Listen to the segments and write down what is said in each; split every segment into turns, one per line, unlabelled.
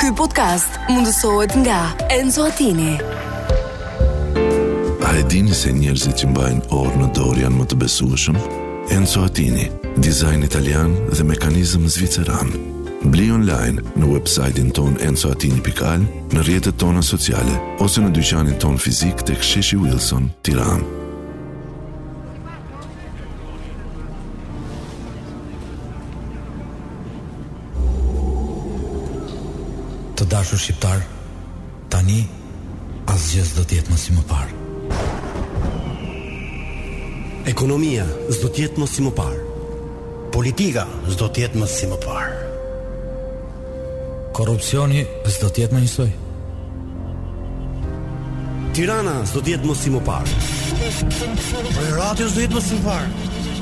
Ky podcast mundësohet nga Enzo Attini.
A e dini se njerëzit që mbajnë orë në dorë janë më të besueshëm? Enzo Attini, dizajn italian dhe mekanizëm zviceran. Bli online në website-in ton enzoatini.al, në rjetët tona sociale, ose në dyqanin ton fizik të ksheshi Wilson, tiran.
Të dashur shqiptar, tani asgjë s'do të jetë më si më parë.
Ekonomia s'do të jetë më si më parë. Politika s'do të jetë më si më parë.
Korrupsioni s'do të jetë më njësoj.
Tirana s'do të jetë më si më parë. Rati s'do jetë më si më parë.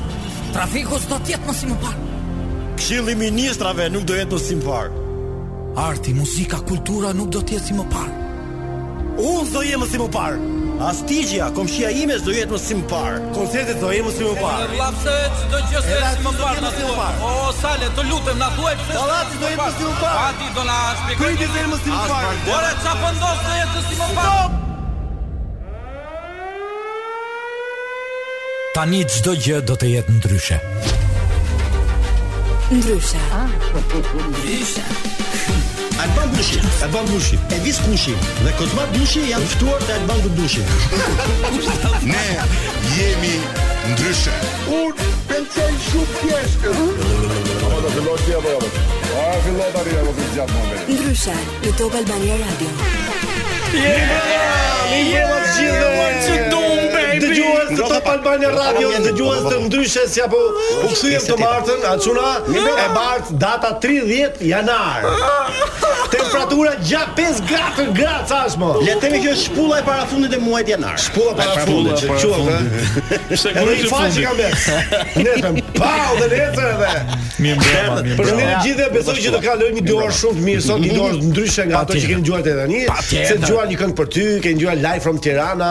Trafiku s'do të jetë më si më parë.
Këshilli i ministrave nuk do jetë më si më parë.
Arti, muzika, kultura nuk do të jetë si më parë.
Unë s'do jem më si më parë. Astigja, komshia ime s'do jetë më si më parë. Koncertet do jetë më si më parë.
Lapse çdo gjë se
Era,
si më
s'do
parë
jemi
na
si më
thuaj.
parë.
O sale, të lutem na thuaj pse.
Dallati do jemi si më parë.
Ati do na shpjegoj.
Priti do jemi më si më parë.
Ora ça po ndos se jetë si më parë.
Tani çdo gjë do të jetë ndryshe.
Ndryshe,
Alban Bushi, Alban Bushi, Elvis Kushi dhe Kozma Bushi janë ftuar te Alban Bushi.
Ne jemi ndryshe.
ndryshe në Top Albania Radio.
Jema të gjithë dhe unë që dumë, baby Dëgjues të Top Albania Radio Dëgjues të ndryshe si apo U kësujem të martën, a quna E bartë data 30 janar Temperatura gja 5 gradë gradë sashmo
Le të themi që është shpulla e parafundit e muajit janar.
Shpulla para fundit, që quam dhe Edhe i faqë kam bërë Netëm, pau dhe lecër edhe Për ne gjithë dhe besoj që do ka lojë një dorë shumë të mirë sot, një dorë ndryshe nga ato që kemi dëgjuar deri tani. Se dëgjuar një këngë për ty, kemi dëgjuar live from Tirana,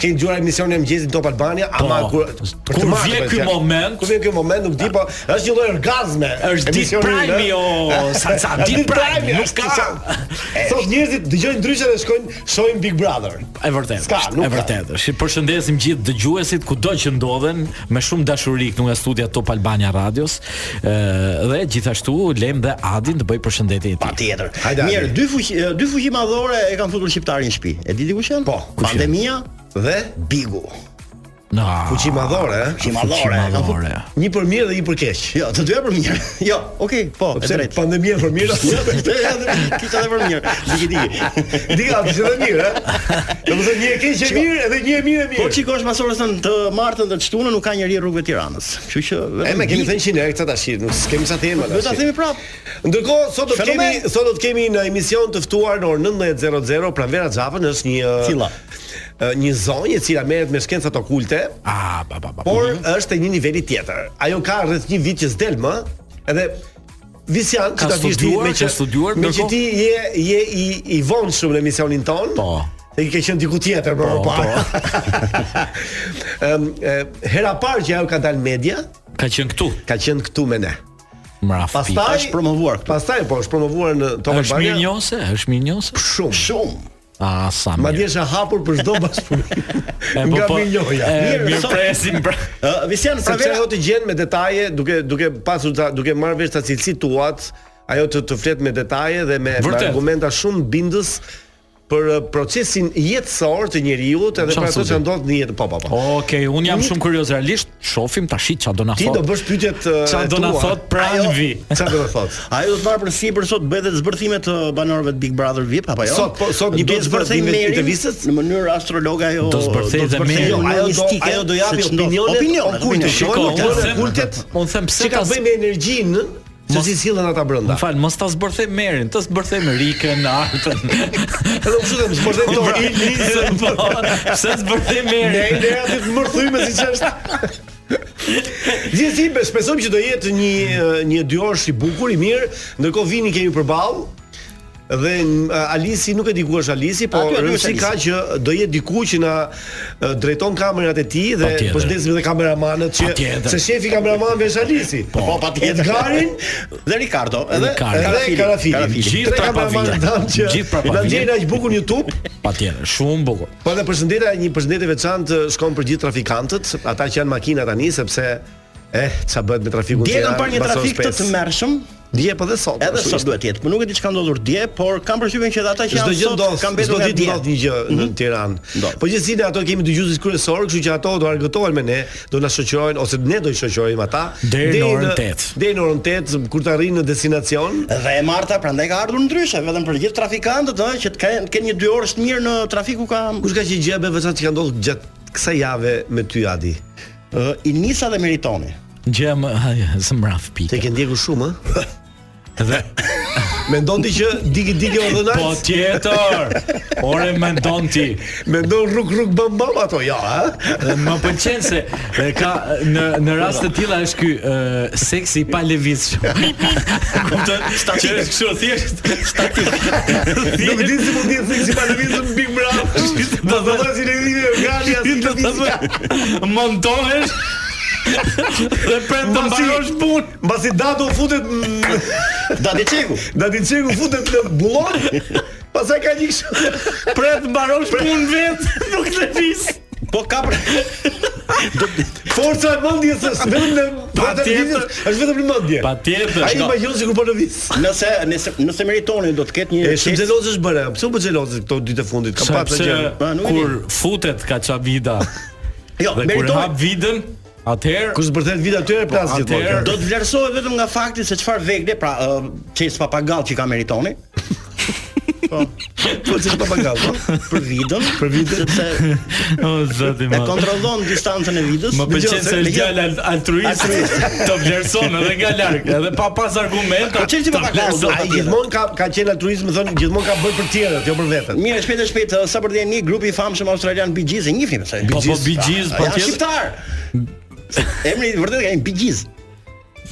kemi dëgjuar emisionin e mëngjesit në Top Albania, ama kur për
Po, kur
martë,
vjen
për
ky
të-
moment-
kur vjen ky moment nuk di po, është një lloj orgazme.
Është ditë
emisioni ynë,
prime, jo,
ë?
o, Sansa,
Është
ditë prime, nuk
është
ka-
Sansa. Sot njerëzit dëgjojnë ndryshe dhe shkojnë shohin Big Brother.
E vërtetë.
Ska,
është,
nuk
e
ka.
vërtetë. Shi përshëndesim gjithë dëgjuesit kudo që ndodhen me shumë dashuri këtu nga studia Top Albania Radios. Ë dhe gjithashtu lem dhe Adin të bëj përshëndetje e tij.
Patjetër.
Hajde,
Mirë,
hajde.
dy fuqi e, dy fuqi madhore e kanë futur shqiptarin në shtëpi. E diti kush janë? Po,
kush janë?
pandemia
Dhe
Bigu.
Na.
fuqi madhore, eh? ë?
Fuqi madhore. e kanë futur-
Madhore.
Një për mirë dhe një për keq.
Jo, të dyja për mirë. Jo, okay, po, e
Pse
drejtë. Jo,
pandemia për mirë,
Këtë edhe për mirë. Diki diki.
dika është edhe mirë, eh? ë? Domethënë një e keq e mirë edhe një e mirë e
Po
mirë.
shikosh pas orës tënë të martën dhe të shtunën nuk ka njerëj rrugëve të Tiranës. Kështu që
E me kemi thënë 100 herë këtë tash, nuk kemi sa të jemi.
Do ta themi prap.
Ndërkohë sot do të
Fenomen.
kemi sot do të kemi në emision të ftuar në orën 19:00 Pranvera Xhapën pra është një ë,
Cilla?
ë, një zonjë e cila merret me shkencat okulte,
Ah, ba ba ba.
por është e një niveli tjetër. Ajo ka rreth një vit që s'del më, edhe Visian,
Ka
që ta vish ti
studiuar,
me që
ka studiuar,
me që
ndërkohë-
ti je je i i vonshëm në emisionin ton.
Po.
Dhe ke qenë diku tjetër më parë. Ëm e, hera parë që ajo ka dalë media,
Ka qenë këtu.
ka qenë këtu me ne.
Mraf.
Pastaj
është promovuar këtu.
Pastaj po është promovuar në Top
është mirë
Albania.
njëse, është mirë njëse.
Shumë.
Shumë.
Ah, sa
Madje
mirë.
është e hapur për çdo bashkëpunim.
E, po,
Nga
po,
Minjoja.
e,
Mirë,
Mirë
sot-
presim pra.
Ë, Visian
Sepse
Pravera
ajo të gjen me detaje, duke duke pasur ta, duke marrë vesh ta cilësit tuat, ajo të të flet me detaje dhe me, me
Vërtet.
argumenta shumë bindës për eh, procesin jetësor të njeriu edhe për
Çfarë
ato
thotë?
që ndodh në jetë. Po, po, po.
Okej, un jam shumë kurioz realisht, shofim tash çfarë do na
Ti
thotë.
do bësh pyetjet eh,
Çfarë do na
tua.
thot pra
Ajo-
në vi?
Çfarë do të thotë?
Ajo do të marrë për sipër sot bëhet edhe zbërthime të banorëve të Big Brother VIP apo jo?
Sot, po, sot një
do
pjesë
zbërthej
zbërthimeve të
merin
intervistës?
në mënyrë astrologa ajo.
Do zbërthej
do
dhe merin.
jo, ajo do ajo do japi opinionet,
opinione
opinione.
kultit.
Shiko,
Shikoj,
unë them-
kultet.
unë them pse
që ka
ta-
bëj me energjinë se
Mos-
si sillen ata brenda.
Më fal, mos ta zbërthej Merin, të zbërthej me Rikën, Artën.
Edhe unë kështu them, zbërthej dorë.
Po, pse zbërthej
Ne
Merin?
ideja ti të mërthyme siç është. Gjithsesi bes- besojmë që do jetë një një dy orësh i bukur, i mirë, ndërkohë vini kemi përballë. dhe m, Alisi nuk e di ku është Alisi, po
Aty, aty është
rëndsi ka
Alisi.
që do jetë diku që na e, drejton kamerat e tij dhe
Patjetër.
përshëndesim edhe kameramanët që
Patjetër.
se shefi kameraman vesh Alisi.
Po, patjetër.
Edgarin
Dhe Ricardo, edhe
Ricardo.
edhe
Karafili.
Karafili.
Gjithë
Tre kameramanët
prapavila.
tanë që
Gjithë prapavila.
na gjejnë aq bukur në YouTube.
Patjetër, shumë bukur.
Po dhe përshëndetja një përshëndetje veçantë shkon për gjithë trafikantët, ata që janë makina tani sepse eh ça bëhet me trafikun
Dje kam
Tiranë,
parë një
bason
trafik të
shpes.
tmerrshëm,
Dje po dhe sot.
edhe
ashtu
sot
ishte.
duhet të jetë. Po nuk e di çka ndodhur dje, por kam përshtypjen që edhe ata që
Çdo
janë
gjë
sot
ndodh,
kanë
çdo
mbetur nga
ditë
dje. Mhm.
ndodh një gjë në Tiranë.
Ndodh.
Po gjithsesi ne ato kemi dëgjuesit kryesorë, kështu që ato do argëtohen me ne, do na shoqërojnë ose ne do i shoqërojmë ata
Deri në orën 8.
Deri në orën 8 kur të arrijnë në destinacion.
Dhe e Marta prandaj ka ardhur ndryshe, vetëm për gjithë trafikantët ëh që të kenë kenë një dy orë të mirë në trafiku ka
Kush ka që gjë më veçantë që ka ndodhur gjatë kësaj jave me ty Adi?
Ë, Inisa dhe Meritoni.
Gjë më së mraf pikë.
Te ke ndjekur shumë, ë? Mendon ti që digi digi ordonanc?
Po tjetër. Ore mendon ti.
Mendon rrug rrug bëm bëm ato, jo, ha?
Dhe Më pëlqen se e, ka në në raste të tilla është ky ë, seksi pa lëvizshëm. Kupton? Statik. Është kështu thjesht statik.
Nuk di si mund të jetë seksi pa lëvizën Big Brother. Do të thotë si lëvizje organi as
Do të
lëvizje.
thotë montohesh dhe pret të mbarosh punë.
Mbasi dato futet mm,
Dati Çeku.
dati çeku futet në bullon. Pastaj ka një kështu.
Pret mbarosh punë vetë, nuk lëviz.
Po ka për
Forca e mendjes është vetëm në
Patjetër.
patjetër, është vetëm në mendje.
Patjetër.
Ai imagjinon sikur po lëviz.
nëse nëse nëse Meritoni do të ketë një
E shumë xheloz është bërë. Pse u bë xheloz këto ditë e fundit? Ka pasur
Sepse
gjë.
Pa, nuk e di.
kur futet ka ça vida
Jo,
dhe kur hap
Meritoni
vidën, atëherë
Kush bërtet vit aty e plas gjithmonë.
Po, atëherë-
do të vlerësohet vetëm nga fakti se çfarë vegle, pra ë, çes papagall që ka Meritoni.
Po çfarë papagall, po?
për vidën, për vidën sepse
o zoti
e
më.
kontrollon distancën e vidës.
Më pëlqen
Dëgjoj,
se është
dëgjoj.
djalë al- altruist, të vlerëson edhe nga larg, edhe pa pas argumenta.
Po çelçi
të
papagall,
vlerëson.
Ai gjithmonë ka ka qenë altruizëm, thonë gjithmonë Po ka bërë për tjerët, jo për veten.
Mirë, shpejt e shpejt, ë, sa për një grupi i famshëm australian Bee Gees, e njihni pse? Ah,
Po po bigjiz, po
janë
tjetër.
shqiptar. Emri vërtet ka një Bee Gees.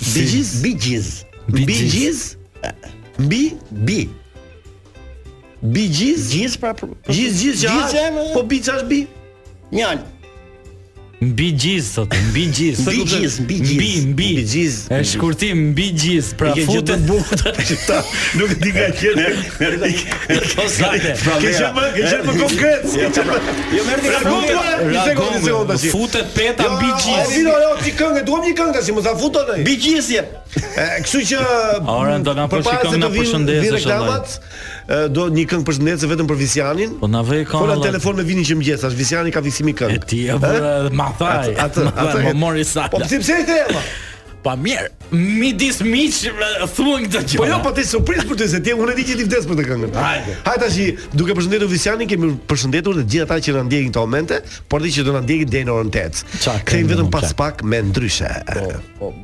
Bee Gees, Bee Gees.
Bee
Bee
Gees.
Gees. Mbi bi. Bee Gees, Gees pra për- për-
Gjithë gjithë që
Gjithë
ha,
që-
po bica është bi.
Një alë.
Bigjiz thotë, mbigjiz. Sa kupton?
Bigjiz, bigjiz.
Mbi, mbi.
Bigjiz.
E shkurtim mbigjiz, pra
E ke gjithë të
futet
bukur shqiptar. Nuk e di nga qenë.
Zate, pra
po, Ke qenë më ke qenë më konkret.
Eh, Jo merrni nga
Reago
fundja.
para një sekondë një sekondë tash.
Futet peta
Jo,
mbigjiz.
vino, jo, ti këngë, duam një këngë tash, mos ta futo ai.
Bee Gees jep.
Kështu që
Ora, do na
përpara se
përshikon,
të
na
vinë-
përshëndesh,
vinë
inshallah.
reklamat, e, do një këngë përshëndetje vetëm për Visianin.
Po na vej
Fola
kanë.
në telefon me vinin që mëngjes, tash Visiani ka fiksimi
E
këngë. Eh,
ti e vë ma thaj.
Atë,
ma thaj,
atë.
Më mori sa.
Po pse pse e thema?
Pa mirë, midis miq e, thuan këtë gjë.
Po jo, po ti surprizë për ty se ti unë e di që ti vdes për të këngën.
Hajde.
Hajde tash, duke përshëndetur Visianin, kemi përshëndetur të gjithë ata që na ndjekin këto momente, por di që do na ndjekin deri në orën 8.
Qa
Kthehemi
këngë,
vetëm
qa?
pas pak me ndryshe.
Po.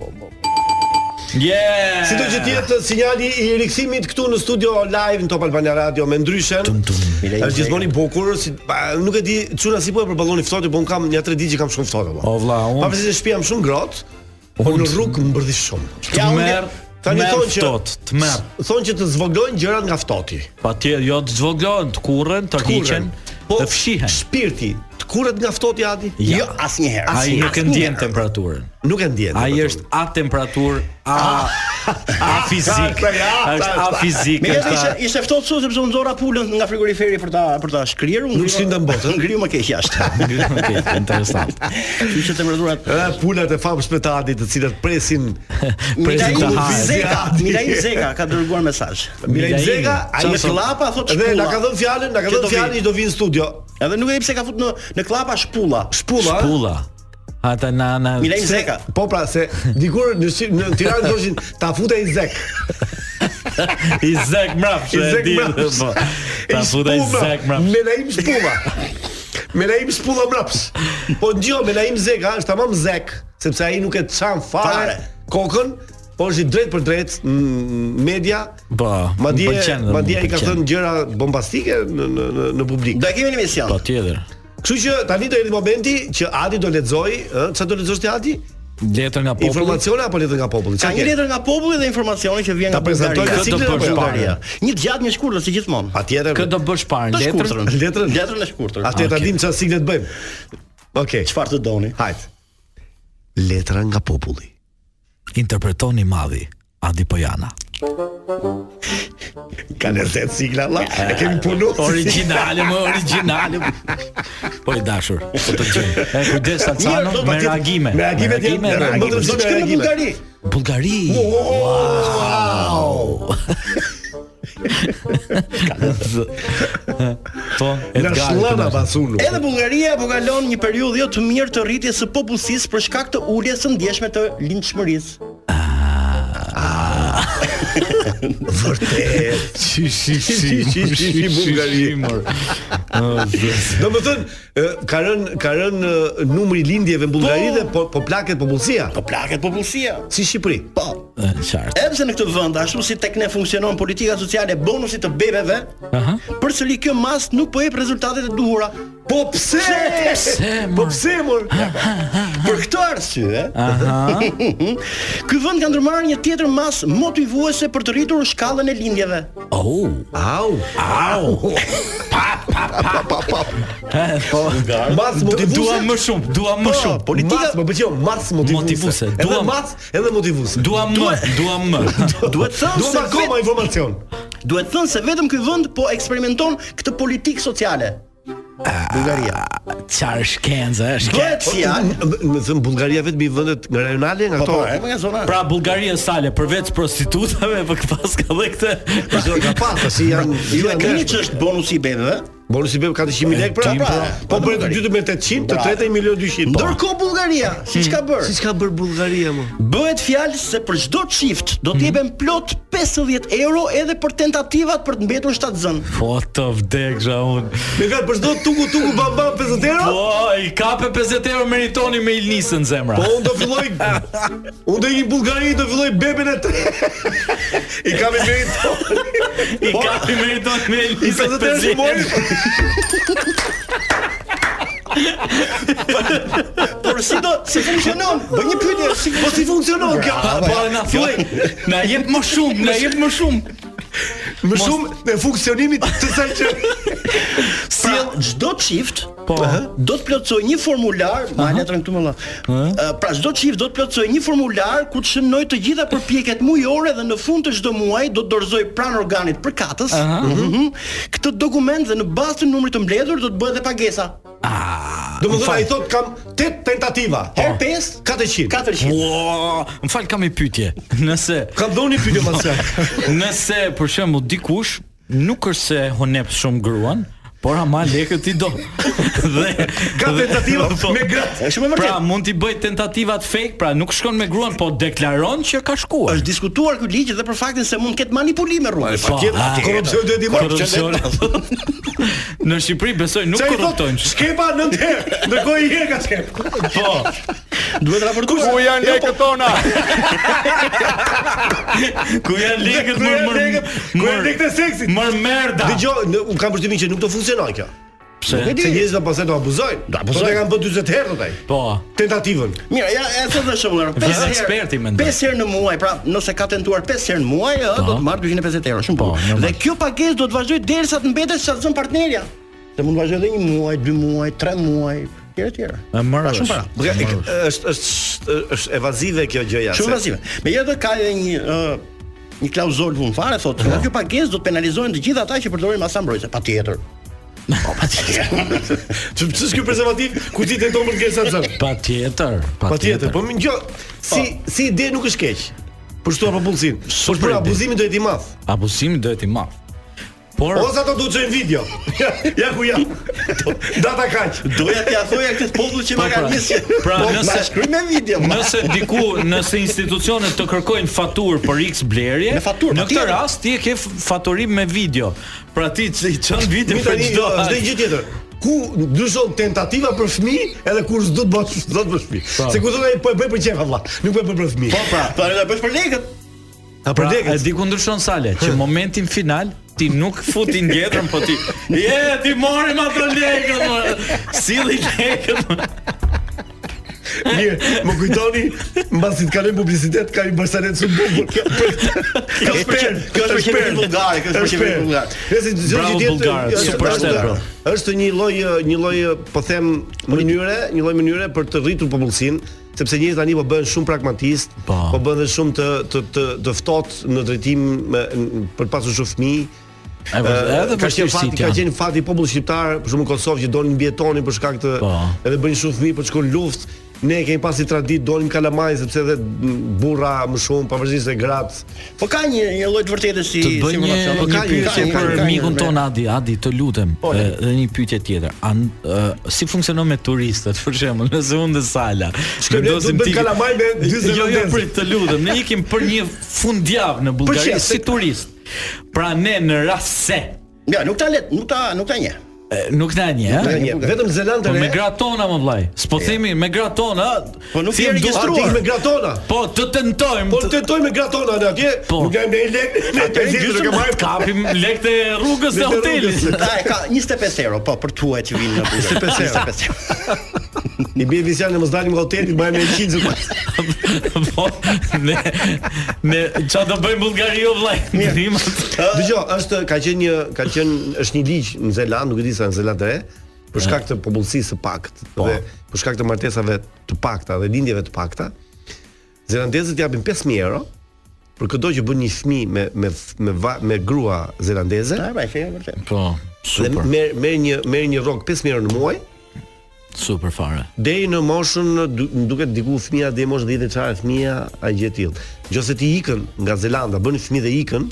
Yeah.
Si do që të jetë sinjali i rikthimit këtu në studio live në Top Albania Radio me ndryshen. Është gjithmonë i bukur, si pa, nuk e di çuna si po e përballoni ftohtë, po un kam ja 3 ditë që kam shumë ftohtë apo.
O, vlla, unë-
Pavarësisht se shtëpia më shumë grot, po në rrugë më bërdhi shumë.
Të merr,
Tani thonë që
ftoht, të merr.
Thonë që të zvoglojnë gjërat nga ftohti.
Patje, jo të zvoglojnë, të kurren, të rriqen,
Po
të fshihen.
Shpirti, të kurret nga ftohti Adi?
Ja.
Jo, asnjëherë.
Ai
asnjëherë,
nuk e
asnjëherë.
ndjen temperaturën.
Nuk e ndjen.
Ai është a temperaturë, a a fizik.
sa, ja, sa,
Ah! Është a
sa.
fizik.
Me jetë
është
ishte,
a-
ishte ftohtë sot sepse unë nxorra pulën nga frigoriferi për ta për ta shkrirë. unë
Nuk
ngriva-
shtyndën botën.
Ngriu më keq jashtë.
Okej, interesant.
Kështu që temperaturat
Ë, pulat e famshme të Adit, të cilat presin
Presin
Milain
të hajë.
Zeka, Milain Zeka ka dërguar mesazh.
Milaj
Milaj
Zega,
Zeka,
ai
Ai me
është
klapa thotë
Dhe
shpulla.
na ka dhënë fjalën, na ka
Që do
dhënë
vi.
fjalën që do vinë në studio.
Edhe nuk e di pse ka fut në në klapa shpulla.
Shpulla. ë?
Pulla. Ata na na
Milain
Se-
Zeka.
Po pra se dikur në Shqip- në Tiranë thoshin ta futej Zek.
i zek mrapsh.
I Zek
e di,
mraps.
po.
I
Ta futaj
shpulla,
zek mrapsh.
Me naim shpulla. Me naim shpulla mraps. Po ndjo me naim Zeka është tamam Zek, sepse ai nuk e çan fare
Fare.
kokën, po është i drejt për drejt në media.
Po,
Madje
më pëlqen dhe
madje
më
ai ka
pëlqen.
thënë gjëra bombastike në në në- në publik.
Do e kemi në emision.
Po tjetër.
Kështu që tani do erdhi momenti që Adi do lexoj, ë, çfarë do lexosh ti Adi?
letër nga populli.
Informacione apo letër nga populli?
Ka
Çfarta
një
ke?
letër nga populli dhe informacioni që vjen
Ta
nga
prezantoj
Bulgaria.
me
Këtë do
ciklet e
bësh
Bulgaria.
parë. Një të gjatë, një të shkurtër si gjithmonë.
Patjetër.
Kë do bësh parë
Të
letër?
shkurtrën.
Letrën?
Letrën e shkurtër.
Atë ta
Okej.
dim çfarë sigle të bëjmë. Okej.
Çfarë të doni?
Hajt. Letra nga populli.
Interpretoni madhi Adi Pojana.
Ka nërtet sigla valla. E kemi punu.
Po, Origjinale, më origjinale. Po i dashur, po të gjej. E kujdes
Mirë,
Alcano
po,
me
patjetër.
reagime.
Me reagimet janë-
me
me
reagime.
reagime.
Zot
Zot,
shkëmbë
shkëmbë
Bulgari.
Bullgari. Po,
Në
Edgar.
shlëna basunu.
Edhe Bullgaria po kalon një periudhë jo të mirë të rritjes së popullsisë për shkak të uljes së ndjeshme të lindshmërisë.
Vërtet.
Shi shi shi
shi, shi, shi, Bullgari. Domethën ka rën ka rën e, numri i lindjeve në Bullgari dhe po po plaket popullsia.
Po plaket popullsia.
Si Shqipëri.
Po.
Qartë.
Edhe pse në këtë vend ashtu si tek ne funksionon politika sociale e bonusit të bebeve,
Aha.
përsëri kjo mas nuk po jep rezultatet e duhura.
Po pse?
mor?
Po pse mor?
Për këtë arsye,
Aha.
ky vend ka ndërmarrë një tjetër mas motivuese për të rritur shkallën e lindjeve.
Oh.
Au.
Au. po,
Mas motivuese.
Dua më shumë, dua më
Po,
shumë.
Politika më pëlqeu mas motivuese.
Motivuese,
Edhe
dua-
mas edhe motivuese.
Dua më, dua më.
Duhet thënë
Duam
se
akoma informacion.
Duhet thënë se vetëm ky vend po eksperimenton këtë politikë sociale. Bulgaria.
Çfarë shkencë, është
Bëhet fjalë
Në thënë Bullgaria vetëm i vendet nga rajonale nga
Po,
ato.
po, e më nga zona.
Pra Bullgaria sale përveç prostitutave për pas ka dhe këtë.
Zor ka pasur si janë
Ju e keni
janë-
që është bonusi i po. bebeve?
Bonusi bëm ka 400.000 lekë pra.
Tim,
pra,
pra.
Po bëhet të dytë me 800, të
Bravo.
tretë 1 milion 200.
Ndërkohë Bullgaria, Mm. siç ka bërë,
Siç ka bër Bullgaria më.
bëhet fjalë se për çdo çift do të jepen plot 50 euro edhe për tentativat për të mbetur shtatzën.
Po të vdekja unë.
Me ka për çdo tuku tuku bam bam 50 euro.
Po, i kape 50 euro meritoni me Ilnisën zemra.
Po unë do filloj Unë do i Bullgari do filloj bebën e tre. I kam i bëri to.
i kape meritoni me
po. I 50
Ilnisën.
euro që
50.
mori.
Por si do si funksionon? Bëj një pyetje, si
Po si funksionon kjo?
Po na
Pra,
thuaj, na jep më shumë, na jep më shumë.
Më shumë në funksionimin të saj që
pra, çdo çift
Po.
do të plotësoj një formular, ma letrën këtu më dha. Ë, Pra çdo çift do të plotësoj një formular ku të shënoj të gjitha përpjekjet mujore dhe në fund të çdo muaji do të dorëzoj pranë organit përkatës. Mhm. Këtë dokument dhe në bazë të numrit të mbledhur do të bëhet edhe pagesa.
Domethënë ai thot kam 8 tentativa.
Her 5
400.
400.
Ua, Po, më fal kam i pyetje. Nëse
Kam dhënë pyetje më së.
nëse për shembull dikush nuk është se honep shumë gruan, por ama lekët i do. Dhe
Ka
dhe-
tentativa
po.
me gratë.
Është shumë e
Pra
vërtetë.
mund t'i bëj tentativat fake, pra nuk shkon me gruan, po deklaron që ka shkuar.
Është diskutuar ky ligj dhe për faktin se mund të ketë manipulime rrugës.
Po, a,
Korrupsion duhet i marrë.
korrupsion. Në Shqipëri besoj nuk
Çai thot
korruptojnë.
skepa 9 herë. Ndërkohë i Jo, po- herë ka skep.
Po,
Duhet raportuar.
Ku janë lekët tona?
ku janë lekët më
Kur
më
lekët, kur lekët e seksit.
Më merda.
po, Dëgjoj, në- unë kam përshtimin që nuk do funksionon kjo.
Pse?
Se njerëzit pastaj do abuzojnë. Do abuzojnë. kanë bën 40 herë thotë ai.
Po.
Tentativën.
Mirë, ja, e thënë dhe shumë herë.
Vjen eksperti, mendoj.
5 herë në muaj, pra, nëse ka tentuar 5 herë në muaj, ë, do të marr 250 euro, shumë
Po,
bukur.
normal.
Dhe kjo pagesë do të vazhdoj derisa të mbetet sa zon partnerja. Dhe mund të vazhdoj edhe 1 muaj, 2 muaj, 3 muaj, etj etj.
E marrë
shumë para.
është.
Dhe është është është evazive kjo gjëja.
Shumë vazive. Megjithatë ka edhe një ë, një klauzol funfare
Po.
thotë, nga kjo pagesë do të penalizohen të gjithë ata që përdorin masa mbrojtëse, patjetër. Po, patjetër.
Ç'është ky prezervativ ku ti tenton për të gjerë sa të zënë?
Patjetër,
Patjetër, po më ngjo si si ide nuk është keq. Për shtuar popullsinë. Po për
ide.
abuzimin duhet i madh.
Abusimi duhet i madh. Por
Ose ato duhet çojnë video. Ja, ja ku jam. Po. Data kaq.
Doja t'ia thoja këtë popull që ma
Po,
ka
pra.
nisë.
Pra,
Po,
nëse-
ma shkruaj me video. ma.
nëse diku, nëse institucionet të kërkojnë faturë për X blerje,
Me faturë,
në këtë
patjetër.
rast ti e ke f- faturim me video. Pra ti që i çon video
Mi
për
tani
çdo.
është një gjë tjetër. Ku dyshon tentativa për fëmijë edhe kur s'do të bësh s'do të bësh fëmijë. Se ku thonë ai, po e bëj për qef valla, nuk po e bëj për fëmijë.
Po pra, pra do ta bësh për lekët.
Ta për
Pra, e
dekët.
di ku ndryshon sale, që momentin final ti nuk futi ngjetrën, po ti je ti morim ato lekët. më, Silli lekët. më."
Mirë, më kujtoni mbasi të kaloj publicitet, ka një bërsanet shumë bukur. Kjo
Kjo është për qe- kjo është për qeverinë bullgare, kjo është për qeverinë bullgare.
Nëse çdo
Bravo,
gjë tjetër
bullgarët,
është-
super
është-
shtet, bro.
Është një lloj një lloj po them mënyre, një lloj mënyre për të rritur popullsinë, sepse njerëzit tani po bëhen shumë pragmatist,
Po.
po bëhen dhe shumë të të të, të ftohtë në drejtim me- n- për të pasur shumë fëmijë.
E
Eh,
vërtet, Po, edhe
ka qenë
vështirësit
fati, ka
janë.
qenë fati popull shqiptar, për shkakun në Kosovë që donin mbietonin për shkak të
Po.
edhe bënin shumë fëmijë për të shkuar në luftë. Ne kemi pasi tradit donim kalamaj sepse edhe mm, burra më shumë pavarësisht se gratë.
Po ka një një lloj të vërtetës si
Të të bëj
si
një,
informacion. Po
një
ka një-
pyetje
ka një- ka
për
një-
mikun
ka një-
ton Adi, Adi, të lutem, e, dhe një pyetje tjetër. A n- e, si funksionon me turistët, për shembull, nëse unë dhe Sala
ne do të bëjmë
tiket-
kalamaj me 40
Jo, jo,
vendese.
prit, të lutem, ne ikim për një fundjavë në Bullgari
çfarë?
si turist. Pra ne në rast se
Ja, nuk ta let, nuk ta nuk ta nje.
e, nuk na një, ha?
Një, vetëm Zeland të
Po
re.
me gratë tona më vllaj. S'po themi me gratë tona.
Po nuk
si
je
e ndua-
regjistruar.
Ti me gratona.
Po të tentojmë.
Po të tentojmë me gratona ne atje,
Po.
nuk kemi ne lek, ne penzim
gjysmë
nuk e marrim
kapim lekët e rrugës dhe
Lekët e
hotelit.
rrugës.
Ta e ka 25 euro, po për tuaj që vinë në Bullgari. 25 euro. 25 euro.
Ni bie vizion ne mos dalim nga hoteli, bëjmë një qinzë.
po, ne ne ç'a do bëjmë Bullgari jo vllai? Ndihmë.
Dgjoj, është ka qenë një ka qenë është një ligj në Zeland, nuk e di sa në Zeland të re, për shkak të popullsisë së paktë
Po.
dhe për shkak të martesave të pakta dhe lindjeve të pakta, zelandezët japin 5000 euro për çdo që bën një fëmijë me me me va, me grua zelandeze
Ta e mbaj fjalën vërtet.
Po,
dhe
super,
merr merr një merr një rrog 5000 euro në muaj
super fare.
deri në moshën du- më duket diku fëmia deri në moshën 10 vjeçare fëmia a gjë tillë. Nëse ti ikën nga Zelanda, bën fëmijë dhe ikën,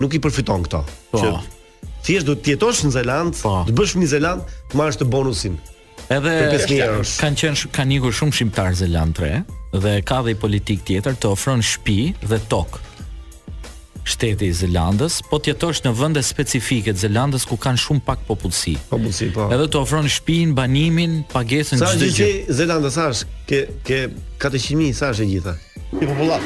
nuk i përfiton këto.
Po.
Që Thjesht do të jetosh në Zeland,
Po.
të bësh fëmijë në Zeland, të marrësh të bonusin.
Edhe
Për 5.000 eurosh.
kanë qenë sh- kanë ikur shumë shqiptar Zeland 3 dhe ka dhe i politik tjetër të ofron shtëpi dhe tokë shteti i Zelandës, po të jetosh në vende specifike të Zelandës ku kanë shumë pak popullsi.
Popullsi, po.
Edhe të ofron shtëpinë, banimin, pagesën
Sa
çdo
është
gjë.
që Zelanda sa është? Ke ke 400.000 sa është e gjitha?
I popullat.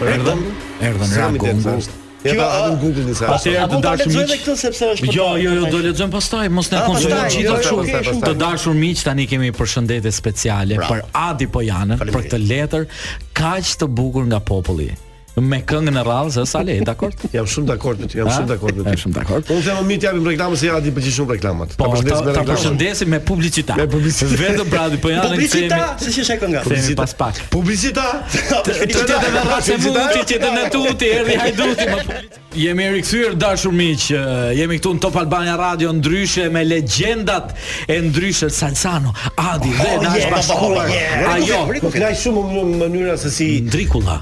Erdhën, erdhën
Sa mi det sa
Ragungu.
është? Ja ta hapim Google disa.
Atëherë
Apo
të
ta
dashur
lexoj
miq.
edhe këtë sepse është për
Jo,
ta-
jo, jo, do lexojmë pastaj, mos na
Ah,
konsumon
pastaj,
gjithë
jo,
kështu.
jo, okay, shumë.
Të dashur miq, tani kemi përshëndetje speciale për Adi Pojanën për këtë letër kaq të bukur nga populli. Me këngën e rradhës së Sale, dakor?
Jam shumë dakord me
Jo,
ty, jam
A?
shumë dakord me ty.
Jam shumë dakord.
Unë them mi të japim reklamën se ja ti pëlqej shumë reklamat.
Po, ta,
përshëndes me
ta
reklamën.
përshëndesim me publicitet.
Me publicitet.
Vetëm për Adi Pojanën
Publicita, se si është e kënga.
Themi pas pak.
Publicita.
Ti të dhe rrasë e mund, ti të në tu, ti erdi hajduti më public. Jemi rikthyer dashur miq, eh, jemi këtu në Top Albania Radio ndryshe me legjendat e ndryshe Salsano, Adi dhe
Oh,
Nash
yeah,
Bashkuar.
oh, yeah.
Ajo
Po
po,
kënaq shumë në mënyra se si
Drikulla.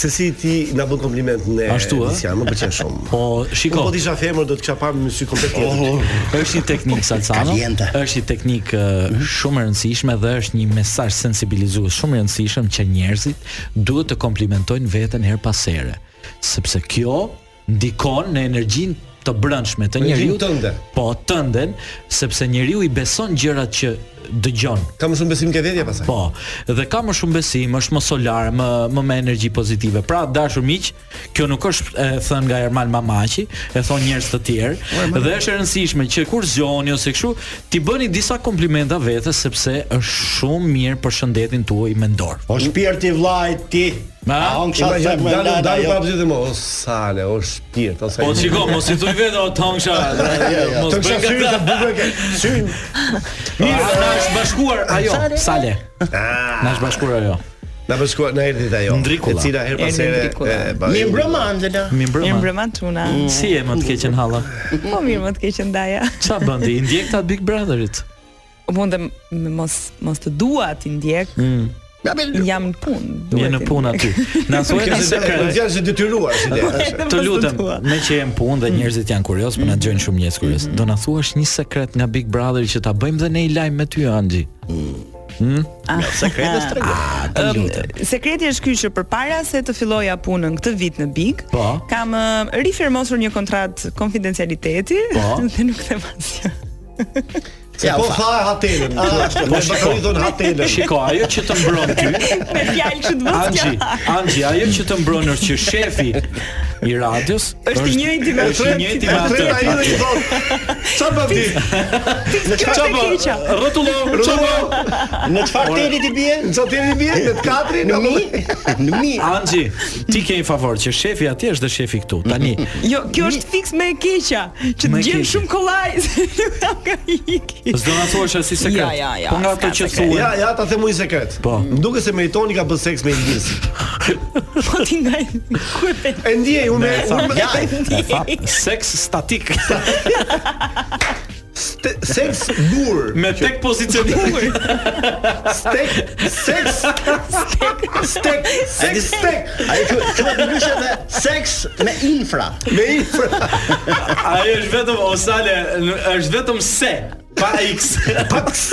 se si ti na bën kompliment në
Ashtu, ë?
Nisjan, më pëlqen shumë.
Po, shiko.
Unë po të isha femër do të kisha parë me sy komplet tjetër.
Është një teknikë Salsano,
Kaliente.
është një teknikë eh, shumë e rëndësishme dhe është një mesazh sensibilizues shumë i rëndësishëm që njerëzit duhet të komplimentojnë veten her pas here, sepse kjo ndikon në energjinë të brëndshme të njeriu
Energjinë tënde.
Po tënden, sepse njeriu i beson gjërat që dëgjon.
Kam shumë besim ke vetja pasaj.
Po, dhe ka më shumë besim, është më solar, më më me energji pozitive. Pra, dashur miq, kjo nuk është e thënë nga Ermal Mamaqi, e thon njerëz të tjerë, dhe është e rëndësishme që kur zgjoni ose kështu, ti bëni disa komplimenta vetes sepse është shumë mirë për shëndetin tuaj mendor.
O shpirti vllaj ti.
Ma?
A on kisha
Imagino
thënë me
dalë
lada
dalë
jo.
pa pëzë më. O sale, o shpirt, o sa.
Po shiko, mos i thuj vetë o tongsha. Mos
Të kisha
bëj
syrë të
gata.
bukur ke. Syn.
Mirë, na është bashkuar ajo. Sale. Na është bashkuar ajo.
Na bashkua na erdhi ajo.
Ndrikulla.
E cila her pas
Erdi
here.
Ndrikulla.
e, ba-
Mi mbrëma Angela.
Mi
Mirë
mbrëma.
mbrëma tuna.
Si e më të keqen halla?
Po mirë më të keqen ndaja.
Ça bën ti? I ndjek ta Big Brotherit?
Mund të m- mos mos të dua ti ndjek. Jam në punë.
Je
duhet
në
ti
punë aty. Na thuaj
Kjo
një
se do të
sekret.
jash e detyruar si ide.
ndjek. Edhe
Të
mos
lutem,
dua.
me që jem punë dhe njerëzit janë kurioz, po na dëgjojnë shumë njerëz kurioz. Do na thuash një sekret nga Big Brother që ta bëjmë dhe ne i lajm me ty Anxhi.
Sekretes tregoj.
Të lutem.
Ah. Sekreti është ky që përpara se të filloja punën këtë vit në Big,
Po.
kam ë, rifirmosur një kontratë konfidencialiteti
Po.
dhe nuk them asgjë.
Se po tha hatelën. Po shkoi thon hatelën.
Shiko, ajo që të mbron ty,
Me fjalë që të bëj
Anxhi,
fjalë.
Anxhi, ajo që të mbron është që shefi i radios
Është i njëjti me
është i njëjti me atë.
Treta ai do i thot. Çfarë bën ti?
Çfarë
po?
keqa?
Rrotullo,
Çfarë?
Në çfarë teli ti bie?
Në çfarë bie? Në të katrin?
Në mi? Në mi.
Anxhi, ti ke një favor që shefi atje është dhe shefi këtu. Tani,
Jo, kjo është fiks me e keqa, që të
Me e
gjen
keqe.
shumë kollaj se nuk kam ka iki.
s'do na thuash as si sekret.
Ja, ja, ja,
po nga
s'ka
ato që
sekret.
thuan.
Ja, ja, ta them unë një sekret.
Po.
Më duket se Meritoni ka bërë seks me Indis.
Po ti nga ku e pe?
E ndjej unë, unë
Ja,
E tha, seks statik
te- seks dur.
me tek pozicionim.
Stek, seks, stek, seks, stek.
ai që që të ndryshë me seks me infra.
Me infra,
Ai është vetëm Osale, n- është vetëm se pa x.
paks.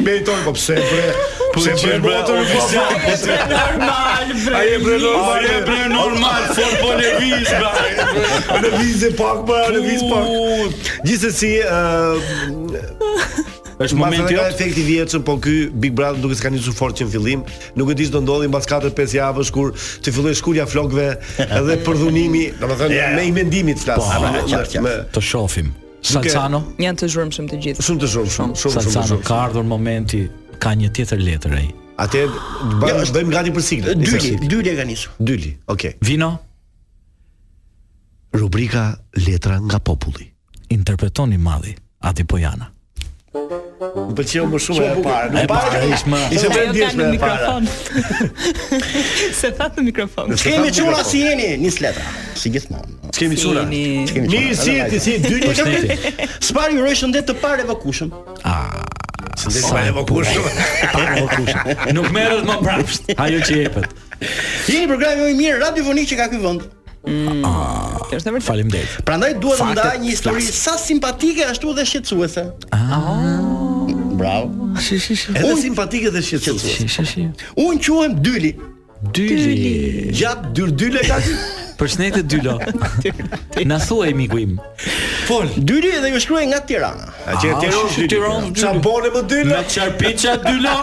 Meritoni po pse bre? Pse bre?
që, bre,
motor, Po
oficial,
bre?
Normal, bre.
Ai e bre normal,
Ai e bre normal, fort po lëviz, bra.
lëvizje pak, bra, lëviz pak. Gjithsesi, ë
Është
Mbas edhe
momenti
ka
jot.
efekti vjetshëm, po ky Big Brother duke s'ka nisur fort që në fillim, nuk e di ç'do ndodhi mbas 4-5 javësh kur të filloi shkulja flokëve edhe përdhunimi, domethënë
Yeah.
me i mendimit flas.
Po,
Me-
qartë, qartë.
me-
Të shohim. Salcano,
Janë të zhurmshëm të gjithë.
Shumë të shumë, shumë, shumë, shumë,
Salcano
shumë.
ka ardhur momenti ka një tjetër letër ai.
Atë
Jo, është-
bëjmë gati për siglën.
Dyli, dyli e ka nisur.
dyli. Okej.
Vino,
Rubrika Letra nga populli.
interpretoni malli Adi Pojana.
Më pëlqeu më shumë e para.
E para ishmë
Ishte
Ajo
më
ka
ndjeshme
në
e né? para.
mikrofon. Se tha në mikrofon.
Kemi çuna si jeni, nis letra. Si gjithmonë.
Kemi çuna.
Jeni-
Kemi
Mirë si ti si dyli.
Përshëndetje.
Spari uroj shëndet të parë evakushëm.
Sa
po
e vokushëm.
Nuk merret më prapsht. Ajo që jepet.
Jeni programi më i mirë radiofonik që ka ky vend.
Kjo Është e vërtetë.
Faleminderit.
Prandaj dua të
Faktet
ndaj një histori
flasin.
sa simpatike ashtu dhe shqetësuese. Bravo.
Shi shi shi.
Ah. Edhe simpatike dhe shqetësuese.
Shi shi.
Unë quhem Dyli.
Dyli.
Gjat dyr dyle ka qenë.
Përshëndetje Dylo. Na thuaj miku im. Fol.
Dyli dhe ju shkruaj nga Tirana.
A që e Tiranë
është Tiranë,
dyli.
dyli.
Qa bone Po, më dyla?
Me çarpiça Dylo.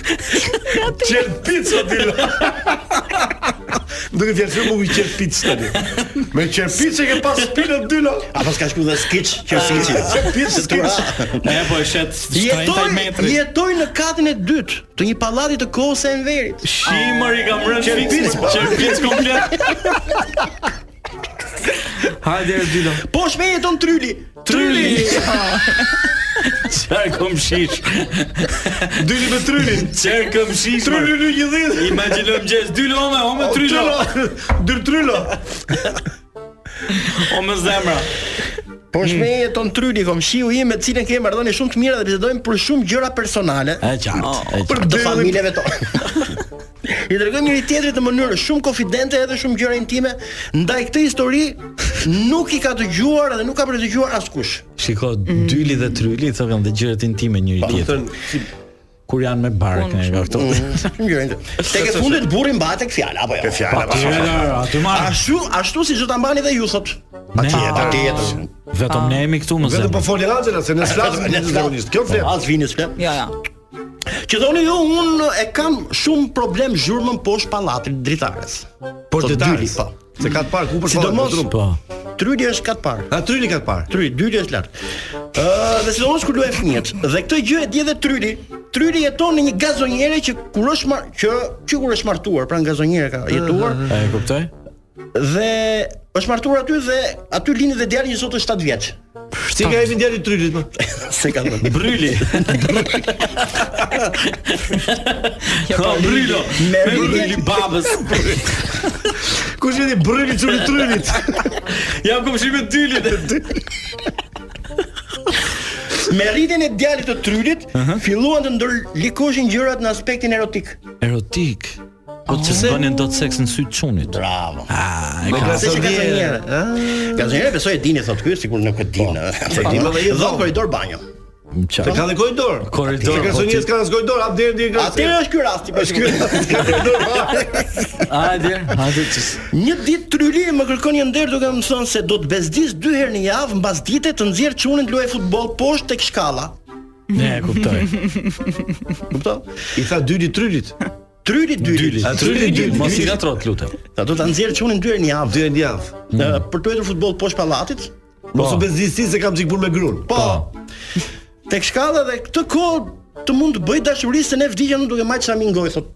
Qelë pizza dyla. Më duke fjalë shumë u qelë pizza tani. Me qelë pizza ke pas pinë dyla.
Apo s'ka shku dhe skiç, që
Ah,
skiçi.
Qelë pizza
Tura.
s'ke.
E po e shet 30
Jetoj,
metra.
jetoj në katin e dytë të një pallati të kohës së enverit.
Shimër i kam rënë
Qerpic,
fiks.
po.
Qerpic komplet. Hajde erë Dylo.
Po shme jeton Tryli.
Tryli. Çfarë kom shish?
Dyli me trylin.
Çfarë kom shish?
Tryli në një dhidhë.
Imagjinojmë gjes Dylo me, o me Trylo,
Dyr trylo.
o me zemra. Hmm.
Po shme jeton Tryli, kom shiu im me të cilën kemi marrëdhënie shumë të mira dhe bisedojmë për shumë gjëra personale.
E qartë. e qartë.
për të familjeve tonë. I tregojmë njëri tjetrit në mënyrë shumë konfidente edhe shumë gjëra intime, ndaj këtë histori nuk i ka dëgjuar dhe nuk ka për të dëgjuar askush.
Shiko, dyli dhe tryli thonë dhe gjërat intime njëri tjetrit. Kur janë me bark ne nga këto.
Shumë gjëra intime. Tek e fundit burri mbahet tek fjala apo jo?
Fjala pa shumë.
aty marr.
Ashtu, ashtu siç do ta mbani dhe ju thot.
Patjetër,
patjetër.
Vetëm ne jemi këtu më
Vetëm po
zemra.
foli Angela se ne flasim
Ne
ne zakonisht. Kjo flet.
As vini s'flet.
Ja, ja.
Që thoni ju, unë e kam shumë problem zhurmën poshtë pallatit dritares.
Por
Thot
detajli
Dyli, po.
Se ka të parë ku për fort,
Sidomos-
po drum.
Po.
Tryli është kat parë.
A tryli ka të parë.
Tryli, dyli është lart. Ë, dhe sidomos kur luajnë fëmijët. Dhe këtë gjë e di edhe Tryli. Tryli jeton në një gazonjere që kur është mar që që kur është martuar, pra në gazonjere ka jetuar
E kuptoj?
dhe është martuar aty dhe aty lindi dhe djali që sot është 7 vjeç.
Si ka jemi djali trylit po. më?
Se ka thënë.
Bryli. Ka brylo.
Me
Me
bryli.
bryli babës.
Kush jeni brëli çuli trylit?
Ja kom shimë dylit.
Me rritjen e djalit të Trylit filluan të ndërlikoshin gjërat në aspektin erotik.
Erotik. Po që se bënin do të seks në sy të çunit.
Bravo.
Ah, e
Me
ka.
Pra. Se që gazonjere. Gazonjere besoj e dini thotë ky, sikur nuk e dinë. Po
di, më dhe i
Dhe
dhom.
koridor banjo.
Se ka
Çfarë?
dhe koridor.
Koridor,
Se
po,
garsonjes
ti-
ka as koridor, hap derën deri në
Atëherë është ky rasti për shkak.
Ka koridor. ha?
Hajde, hajde. qës-
Një ditë Tryli më kërkon një nder duke më thënë se do të bezdis dy herë në javë mbas dite të nxjerr çunin të luaj futboll poshtë tek shkalla.
Ne e kuptoj.
Kupton?
I tha dylit trylit.
Tryli dyli.
A tryli dyli, mos i gatrot lutem.
Ta do ta nxjerr çunin dy herë në javë.
Dy herë në javë. Po.
Ë, Për të hetur futboll poshtë pallatit.
Mos u bezisi se kam xikpun me grun.
Po. Tek shkalla dhe këtë kohë të mund të bëj dashuri se ne vdiqem nuk duke majt sa mingoj thot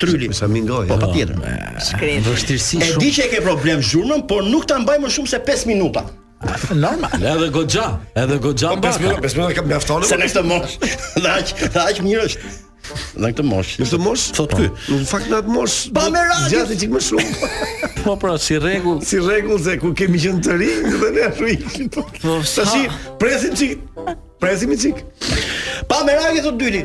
tryli.
Sa mingoj.
Po patjetër.
Shkret.
Vështirësi
E di
shumë.
që e ke problem zhurmën, por nuk ta mbaj më shumë se 5 minuta.
Normal, edhe goxha, edhe goxha.
Po 5 minuta, 5 minuta kam mjaftonë.
Se në këtë mosh, dhe aq, dhe aq mirë është. Në këtë mosh.
Në këtë mosh, thot ky, Po. në fakt në atë mosh,
Pa me radhë.
zgjati çik më shumë.
Po pra, si rregull.
Si rregull se ku kemi qenë të rinj dhe ne ashtu ikim.
Po, sa-
Tashi presim çik. Presim i çik.
Pa merak e thot dyli.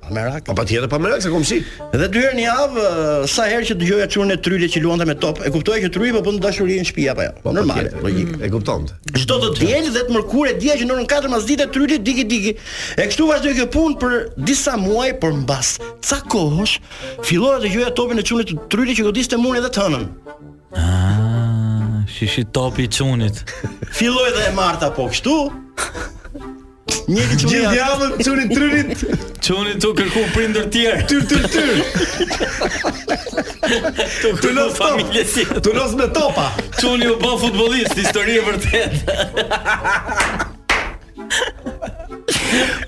Pa merak.
Po patjetër pa merak se komshi.
Dhe dy herë në javë, ë, sa herë që dëgjoja çurin e trylit që luante me top, e kuptoja që tryi po bën dashuri në shtëpi apo jo.
Po
Normale.
patjetër, logjik, e kupton.
Çdo të diel dhe të mërkurë dija që në orën 4 mas dite tryli diki diki. E kështu vazhdoi kjo punë për disa muaj, por mbas ca kohësh fillova të dëgjoja topin e çunit të trylit që godiste murin edhe të hënën.
Ah, shishi topi i çunit.
Filloi dhe e marta po kështu. Njëri çuni
Gjithë javën çunin tryrit,
Çuni tu kërku prindër tjerë.
tyr tyr tyr.
Tu
Tu
kërku
los top.
familje si.
Tu los me topa.
Çuni u bë futbollist, histori e vërtetë.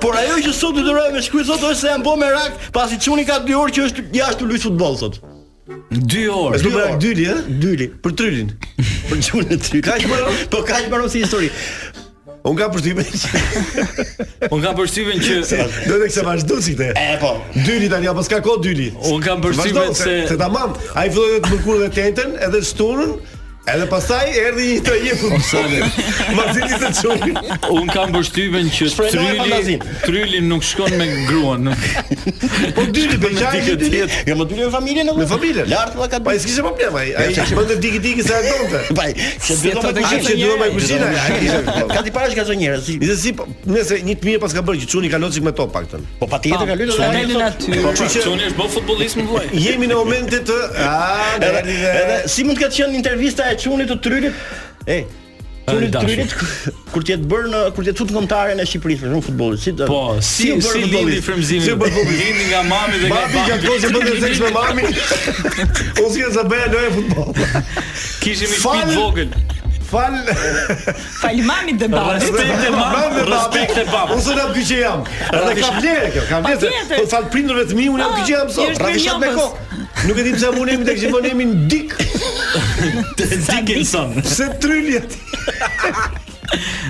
Por ajo që sot do dëroj me shkruaj sot është se janë bë merak pasi çuni ka 2 orë që është jashtë luaj futboll sot.
2 orë.
Është numër dyli, ë?
Dyli.
Për trylin.
Për çunin e trylit.
Kaq më ro?
Po kaq më si histori.
Unë kam përshtypjen që
Un kam përshtypjen që
do të kse vazhdo si këtë.
E po.
Dyli tani apo s'ka kohë dyli.
un kam përshtypjen
Vazhdo se se
se
tamam, ai filloi të mërkurë dhe tentën, edhe shtunën, edhe pastaj erdhi një të një
Po,
futbolli. Mazi të çuni.
un kam përshtypjen që
Shfrenoj
tryli
fantazin.
tryli nuk shkon me gruan, nuk.
Po dyli beqaj
Dikë
dyli.
tjetër. Jo më dyli me familjen apo?
Me familjen.
Lart valla ka
Pa
dy.
i s'kishte problem ai. Ai
Ja, që-
bënte diki diki se ardonte.
Pa, që
Si
dy do të
ato të
Ai
kushim.
që duhet me kuzhinë. ai kishte-
Ka ti parash ka zonë njerëz. si-
Nëse si, po, nëse një të mirë pas ka bërë që çuni ka locik me top paktën.
Po patjetër ka lënë
Çuni në natyrë.
Po pra, çuni është bë futbollist më vllai.
Jemi në momente të a,
Edhe,
erdhi
edhe
dhe
si mund të ketë qenë intervista e Çunit të Trylit? E Çunit të
dashur.
Trylit kur- kur ti jetë bërë në kur ti jetë fut kombëtare në Shqipëri për shkak futbollit, si do-
Po, si
u bërë
si
futbollist?
lindi frymëzimi?
Si u bërë futbollist?
Lindi nga mami dhe nga
Babi ka
babi.
kohë që bënte seks me mami. Unë s'kam sa bëja lojë futboll.
Kishim i
Fal-
shpit vogël.
Fal.
Fal mamit dhe babit.
Respekt e mam,
Mami,
respekt e Pra bab.
Unë s'na dy që jam. Edhe ka vlerë kjo, ka vlerë.
Patjetër.
se- Po fal prindërve të mi, unë jam dy që jam
Ah,
sot.
jeshtë
Ravishat me
mirë
kokë. Nuk e di pse unë jemi tek gjithmonë jemi në dik.
Dickinson.
Pse tryli aty?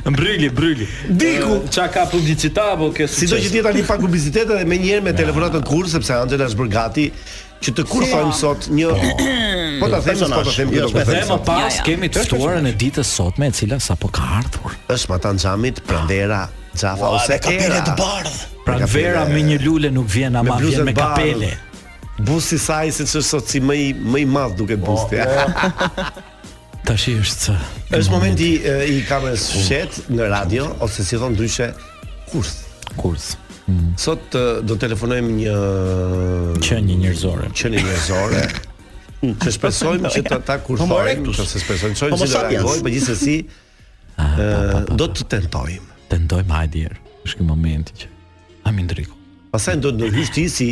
Mbryli, bryli.
Diku.
Qa ka publicita apo ke
Sido që
succes?
ti tani pak publicitet edhe më njëherë me telefonatën kur sepse Angela është bërë gati që të kurthojmë sot një po ta them po ta them
Jo, s'po e
Dhe më
pa
pas
Ja, ja.
kemi të ftuarën e ditës sotme e cila sapo ka ardhur.
është Matan Xhamit, Prandera, Xhafa ose
Ose ka
Era.
të bardh.
Pra
Me kapele.
vera me një lule nuk vjen ama
Me bluzën
vjen me
bardhë.
kapele.
Busi saj se ç'është sot si më i më i madh duke busti.
Tashi është cë.
Është momenti e, i kamerës fshet në radio ose si thon ndryshe kurth.
kurth.
Sot e, do telefonojmë një
Qenie njerëzore.
qenie njerëzore. Që shpresojmë që ta, ta
Homo
kurthojmë,
erectus.
ose shpresojmë që
Homo
si do
sapiens.
reagojë, por gjithsesi ë, do të tentojmë.
Tendojmë hajde herë. Është ky momenti që a mi ndriku.
Pastaj do të ndërhysh ti si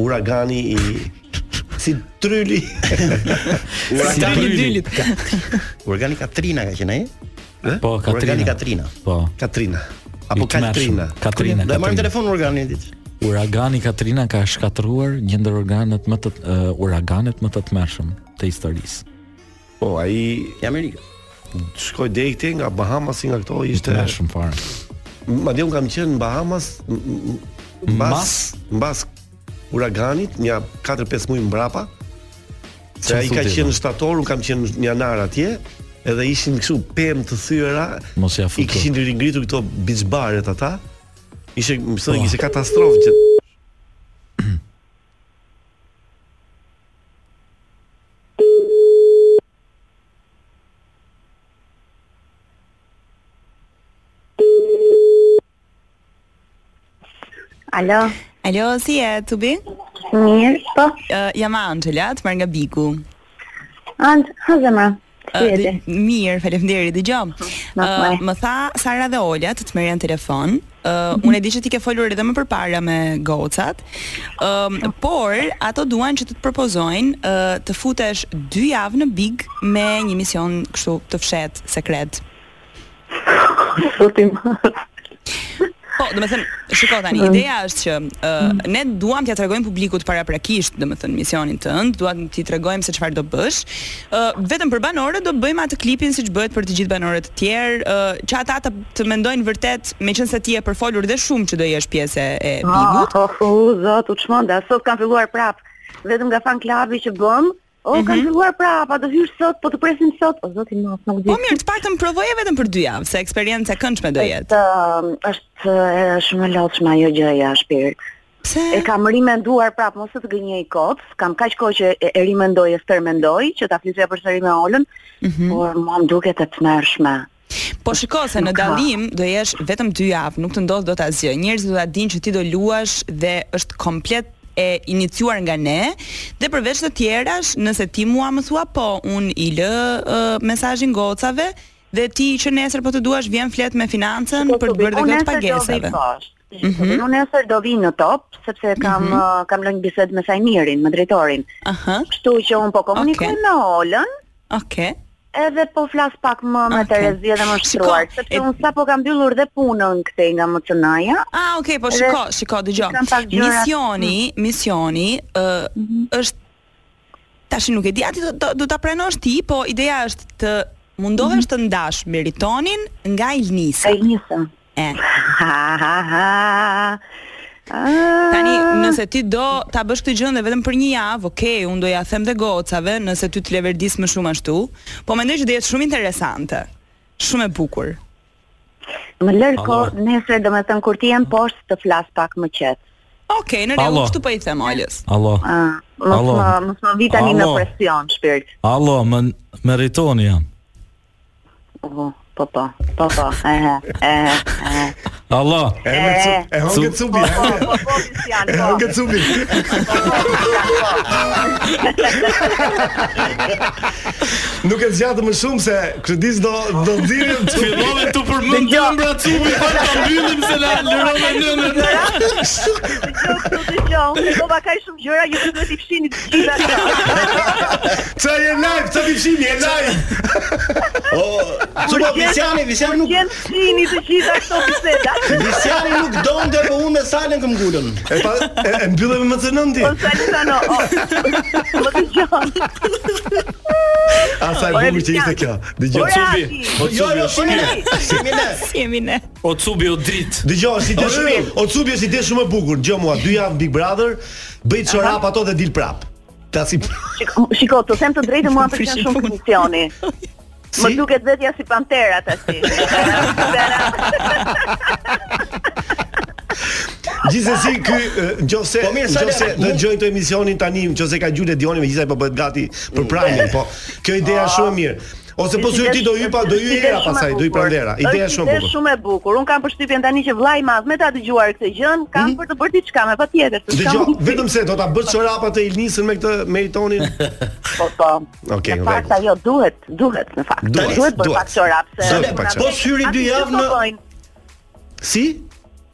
uragani i si tryli.
Si
Uragani
bryli.
Uragani Katrina ka qenë ai?
Po,
Uragani
Katrina.
Katrina.
Po.
Katrina. Apo
I tmerrshëm.
Katrina.
Katrina.
Do e marrim
Katrina.
telefon uraganin ditë.
Uragani Katrina ka shkatruar një ndër organet më të uh, uraganet më të tmerrshëm të historisë.
Po, ai
Në Amerikë.
shkoi deri këtej nga Bahamas nga këto
Të
ishte
tmerrshëm fare.
Madje un kam qenë në Bahamas m- m- mbas mbas uraganit, një 4-5 muaj mbrapa. Se
Çfarë
ai ka
thotë,
qenë
do?
në shtator, un kam qenë në janar atje, edhe ishin kështu pemë të thyera.
Mos ia
I
futu.
kishin ringritur këto beach baret ata. Ishte, më thonë,
Po.
ishte katastrofë që
Alo,
Alo, si je, Tubi?
mirë, po,
Uh, jam Angela, të marr nga Biku.
andë, ha zemra, si
Ë,
e ti?
dhe- Mirë, faleminderit. Dëgjom.
Ma-
Ë,
ma-
Më tha Sara dhe Olja të të merren telefon.
Uh, unë e di që ti ke folur edhe më përpara me gocat. Um, por ato duan që të të propozojnë uh, të futesh 2 javë në Big me një mision kështu të fshet sekret.
Zotim.
Po, do të them, shiko tani, ideja është që uh, ne duam t'ja tregojmë publikut paraprakisht, do të thënë, misionin tënd, duam t'i tregojmë se çfarë do bësh. Uh, vetëm për banorët do bëjmë atë klipin siç bëhet për të gjithë banorët të tjerë, uh, që ata të, të mendojnë vërtet, meqense ti je përfolur dhe shumë që do jesh pjesë e e
Ah,
bigut.
oh, oh, zot, u çmonda, sot kam filluar prap. Vetëm nga fan klubi që bëm, o oh,
Mhm.
kam filluar prap, a do hyj sot, po të presim sot. O zoti mos, nuk di.
Po mirë, të paktën provoje vetëm për 2 javë, se eksperjenca e këndshme do jetë.
Është um, është e, shumë e lodhshme ajo gjëja shpirt.
Pse?
E kam rimenduar prap mos të të gënjej kot, kam kaq kohë që e, e rimendoj e stërmendoj që ta flisja përsëri me Olën,
Mhm.
por mua më duket e tmerrshme.
Po shiko se në
Nuk ka.
dallim do jesh vetëm 2 javë, nuk të ndodh dot asgjë. Njerëzit do ta dinë që ti do luash dhe është komplet e iniciuar nga ne dhe përveç të tjerash, nëse ti mua më thua po, unë i lë uh, mesazhin gocave dhe ti që nesër po të duash vjen flet me financën për të bërë dhe
Po, Unë
këtë
nesër do vi
pagesave. Mhm.
poshtë. Unë nesër do vi në top, sepse kam uh, kam lënë një bisedë me Sajmirin, me drejtorin.
Aha.
Kështu që unë po komunikoj
Okej.
me Olën,
Okej.
edhe po flas pak më me
Okej.
Terezi edhe më
Shiko,
shtruar, sepse
e-
unë sapo kam mbyllur dhe punën këtej nga MCN-ja.
Ah, okay, po shiko, shiko, dëgjoj.
kam pak Mhm. gjëra-
Misioni, misioni ë është tash nuk e di, aty do do, do ta pranosh ti, po ideja është të mundohesh të ndash meritonin nga Ilnisa.
Ilnisa.
E.
Ha ha ha.
Tani, nëse ti do ta bësh këtë gjë dhe vetëm për një javë, okay, unë do ja them dhe gocave, nëse ty të leverdis më shumë ashtu, po mendoj që do jetë shumë interesante. Shumë e bukur.
Më lër kohë nesër domethën kur ti jem poshtë të flas pak më qet.
Okej, në rregull,
Allo.
kështu po i them Olës.
Allo.
Ah, mos
Allo.
më mos më vi tani në
Allo.
presion shpirt.
Allo, më meritoni jam.
Oh, po po, po po. Ehe, ehe, ehe.
Allo.
E hëngë e hëngë cupi.
Po po, po po, Cristian,
E
po.
hëngë cupi.
Nuk e zgjatë më shumë se kredis do do nxirrim
Fillove të përmend ëmbra cumi, pa ta mbyllim se na lërove nënën.
Këtu dëgjoj, unë dova kaq shumë gjëra, ju duhet i fshini të gjitha këto.
Ça je live, ça vishim je live.
Çupa Visiani, Visiani nuk
Jem fshini të gjitha këto biseda.
Visiani nuk donte, po unë me Salën këm ngulën.
E pa e, e mbyllëm me MCN ti.
Po Salisano, o. Po dëgjoj.
A sa e
Ore,
bukur që ishte kjo. Dëgjoj.
Ora,
cupi.
ti.
O
Jo,
cubi
jo,
është
shemi ne, shemi ne.
Si jemi ne?
O cubi o dritë.
Dëgjoj, si ide shumë. O Cubi është ide shumë e bukur. Dëgjoj mua, dy javë Big Brother, bëj çorap ato dhe dil prap. Ta si
Shiko- Shiko, të them të drejtën mua më pëlqen shumë komisioni. Më duket vetja si pantera tash.
Gjithsesi ky e, nëse
Po mirë, sa
nëse
le-
do dëgjojnë këtë emisionin tani, nëse ka gjulë Dioni megjithëse po bëhet gati për prajmin, po kjo ide është shumë e mirë. Ose po syri ti do hypa, do hy era pasaj, do hy prandera. Ideja është shumë e
Është
bukur.
shumë e bukur. Un kam përshtypjen tani që vllai i madh me ta dëgjuar këtë gjën, kam
Mhm.
për të bërë diçka me patjetër. se s'ka
Dëgjoj,
mundësi.
vetëm se do ta bësh çorapa të Ilnisën me këtë meritonin.
Po po.
Okej,
në
në
fakt ajo duhet, duhet në fakt.
Duhet,
duhet bërë
duhet.
pak çorap se
Duhet bërë pak çorap.
Po syri dy javë në-
po Si?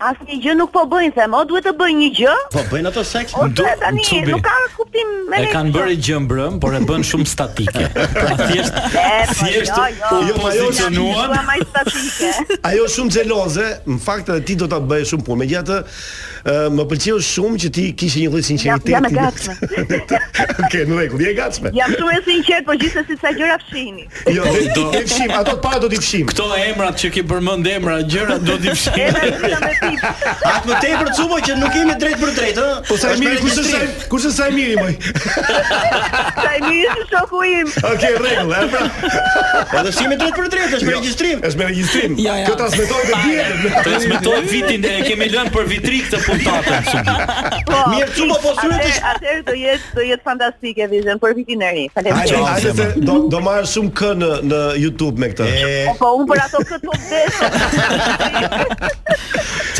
Asnjë gjë nuk po bëjnë se, mo duhet të bëjnë një gjë.
Po bëjnë ato seks.
Ose
Du-
tani
Cubi.
nuk ka kuptim me
E kanë bërë gjëmbrëm, por e bën shumë statike. Pra thjesht
jo,
thjesht
ma jo,
pozicionuan.
Ua më statike.
Ajo është shumë xheloze, në fakt edhe ti do ta bëje shumë punë. Megjithatë, ë, më pëlqeu shumë që ti kishe një lloj
Jam
sinqeriteti.
jam e gatshme.
Okej, në rregull, je e gatshme.
Jam shumë e sinqert, por gjithsesi sa gjëra fshini.
Jo, do të fshim, ato të para do t'i fshim.
këto emrat që ke përmend emra, gjërat do t'i fshin.
Edhe vita me pip.
Atë më tepër cupo që nuk jemi drejt për drejt, ë?
Po sa e
Është
miri,
me
kush është
registrim.
sa- kush është sa e miri moj?
Sa i mirë është shoku im.
Okej, rregull, e pra.
Edhe si jemi Po, drejt për drejt,
Jo.
është me regjistrim.
Është me regjistrim.
Ja, ja.
Kjo transmetohet me dietën.
Transmetohet vitin e kemi lënë për vitri këtë
puntatën subit.
Po.
Mirë, Culo, po syret
atëherë-
ish-
Atëherë do jetë do jetë fantastike Vision për vitin e ri.
Hajde, hajde se
Faleminderit.
do do marr shumë kë në në YouTube me këtë.
Po, Po unë për ato këtë po vdes.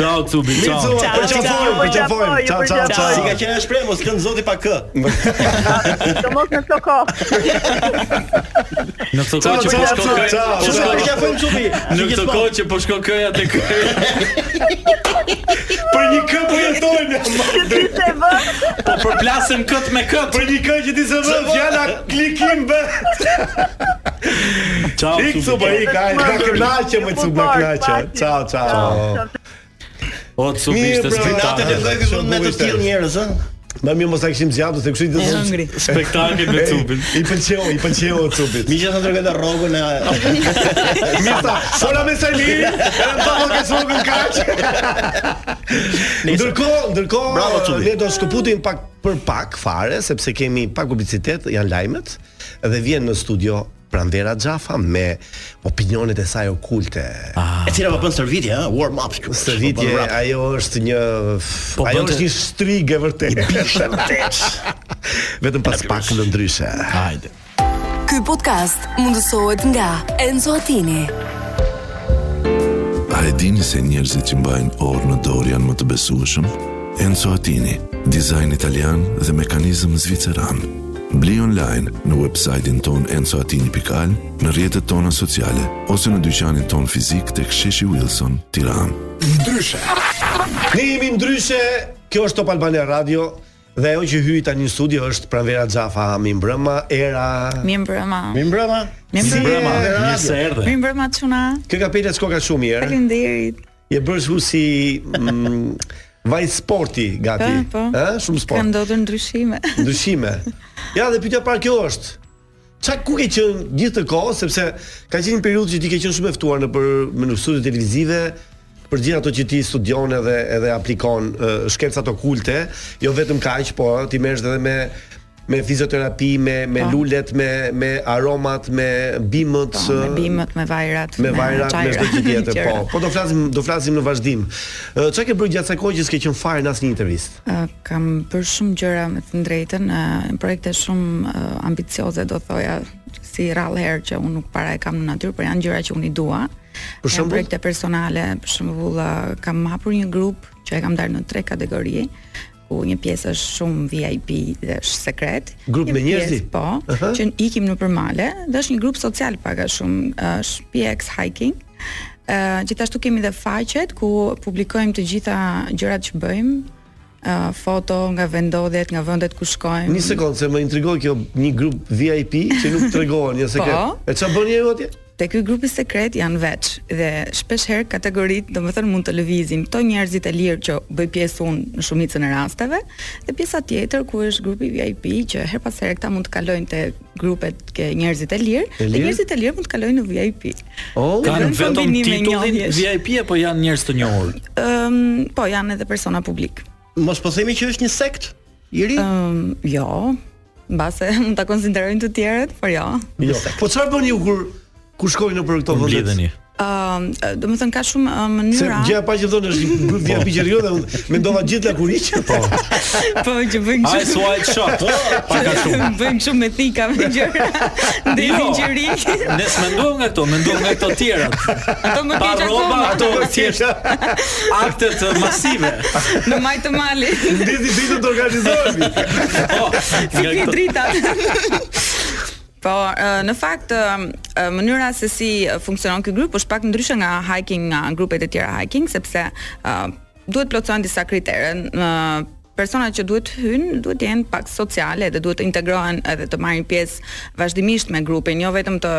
Ciao Cubi,
Mirë,
ciao.
Cubi, për qafojmë, për qafojmë. Ciao, ciao, ciao.
Si ka qenë e shpreh, mos kënd zoti pa kë.
Domos në këto kohë.
Në këtë kohë që po
Ciao,
shkon
ciao,
këja,
ciao,
që
ciao.
shkon-
Për qafojmë,
Në
Cubi.
këtë
gjithmonë.
kohë që po shkon këja te këja.
Për një kë po jetojnë.
Që ti se vë.
Po përplasim kët me kët.
Për një kë që ti se vë fjala klikim bë.
Ciao
Ik
Cubi.
Cuba, ik, ai, na kënaqe më Cuba, kënaqe. Ciao, ciao.
O Cubi
Mirë,
ishte
bra,
spektakl.
natën e dhënë
Vënd me të tillë njerëz, ëh.
Më mirë mos ta kishim zjarr, do të kishim
Jam hungry.
Spektakl me Cubin.
I pëlqeu, i pëlqeu Cubit.
Miqja sa drogën e rrogën e
Mirë ta, sola me Sali, edhe pa më ka smogën kaq. Ndërkohë, ndërkohë,
Bravo, Cubi.
ne do shkëputim pak për pak fare sepse kemi pak publicitet, janë lajmet dhe vjen në studio Pranvera Xhafa me opinionet e saj okulte.
Ah,
e cila po bën stërvitje, ëh, warm up.
Stërvitje, ajo është një
Po
ajo
bënte-
është një strigë e vërtetë. Vetëm pas pak në ndryshe.
Hajde.
Ky podcast mundësohet nga Enzo Attini.
A e dini se njerëzit që mbajnë orë në dorë janë më të besueshëm? Enzo Attini, dizajn italian dhe mekanizëm zviceran. Bli online në website-in ton enzoatini.al, në rjetët tona sociale, ose në dyqanin ton fizik të ksheshi Wilson, tiran.
Ne jemi ndryshe, kjo është Top Albania Radio dhe ajo që hyi tani në studio është Pranvera Xhafa mi mbrëma era.
Mi mbrëma.
Mi mbrëma.
Mi
Si
mbrëma.
e-
Mirë se
Mi
erdhe.
mbrëma çuna.
Kjo kapela çka ka shumë herë.
Faleminderit.
Je bërë shu si mm, vaj sporti gati.
Po, po.
Ë, shumë
Ka
sport.
ndodhur ndryshime.
Ndryshime. Ja, dhe pyetja parë kjo është. Qa ku ke qenë gjithë të kohë, sepse ka qenë një periudhë që ti ke qenë shumë e ftuar në për më në studio televizive për gjithë ato që ti studion edhe edhe aplikon uh, shkencat okulte, jo vetëm kaq, po ë, ti merresh edhe me me fizioterapi, me me lulet, me me aromat, me bimët,
Po, me
ë,
bimët, me vajrat,
me vajrat, me
çajrat,
çdo gjë tjetër, po.
gjëra.
Po do flasim do flasim në vazhdim. Ë, Çka ke bërë gjatë kësaj kohë që s'ke qenë fare në asnjë intervistë?
Ë, kam bërë shumë gjëra me të drejtën, ë, projekte shumë ë, ambicioze do thoja, si rrallë herë që unë nuk para e kam në natyrë, por janë gjëra që unë i dua.
Për
Janë
shembull?
projekte personale, për shembull, ë, kam hapur një grup që e kam ndarë në tre kategori ku një pjesë është shumë VIP dhe është sekret.
Grup
Një
me njerëzi?
pjesë, Po,
Aha.
që ikim në përmale dhe është një grup social pak a shumë, është PX hiking. Ë gjithashtu kemi edhe faqet ku publikojmë të gjitha gjërat që bëjmë, ë foto nga vendodhjet, nga vendet ku shkojmë.
Një sekondë se më intrigoi kjo një grup VIP që nuk tregohen, një sekret.
Po.
E çfarë bën njeriu atje?
Te ky grupi sekret janë veç dhe shpesh herë kategoritë, domethënë mund të lëvizin këto njerëzit e lirë që bëj pjesë unë në shumicën e rasteve dhe pjesa tjetër ku është grupi VIP që her pas here këta mund të kalojnë te grupet ke njerëzit e lirë,
E lirë?
dhe njerëzit e lirë mund të kalojnë në VIP.
Oh,
Ka-
Kanë
Vetëm
vetëm
kombinime
titullin
njohjesh.
VIP apo janë njerëz të njohur?
Ëm, po janë edhe persona publik.
Mos po themi që është një sekt i ri.
Ëm, jo, mbase mund ta konsiderojnë të tjerët, por jo.
jo. Po çfarë bën ju kur kur shkojnë në për këto vende?
Mblidheni.
Ëm, do të thënë Ehm, ka shumë ë,
Se
mënyra
gjëja pa që thonë është një grup VIP që rjo dhe unë mendova gjithë la kur iqë. Po.
po që bëjnë
Ai
kështu.
suaj shot.
Po,
Pak a shumë. Jo.
Bëjmë shumë me thika me gjëra. Ndërtin gjëri.
Ne s'mendojmë nga këto, mendojmë nga këto tjerat.
Ato më
Pa
keq
rroba,
akoma.
ato thjesht akte të masive.
Në maj të mali.
Ndjesi ditë të organizohemi.
Po, nga
Fikni
këto-
dritat. Po, ë, në fakt ë, ë, mënyra se si ë, funksionon ky grup është pak ndryshe nga hiking nga grupet e tjera hiking sepse ë, duhet plotësojnë disa kritere. Ë, persona që duhet hynë duhet të jenë pak sociale dhe duhet të integrohen edhe të marrin pjesë vazhdimisht me grupin, jo vetëm të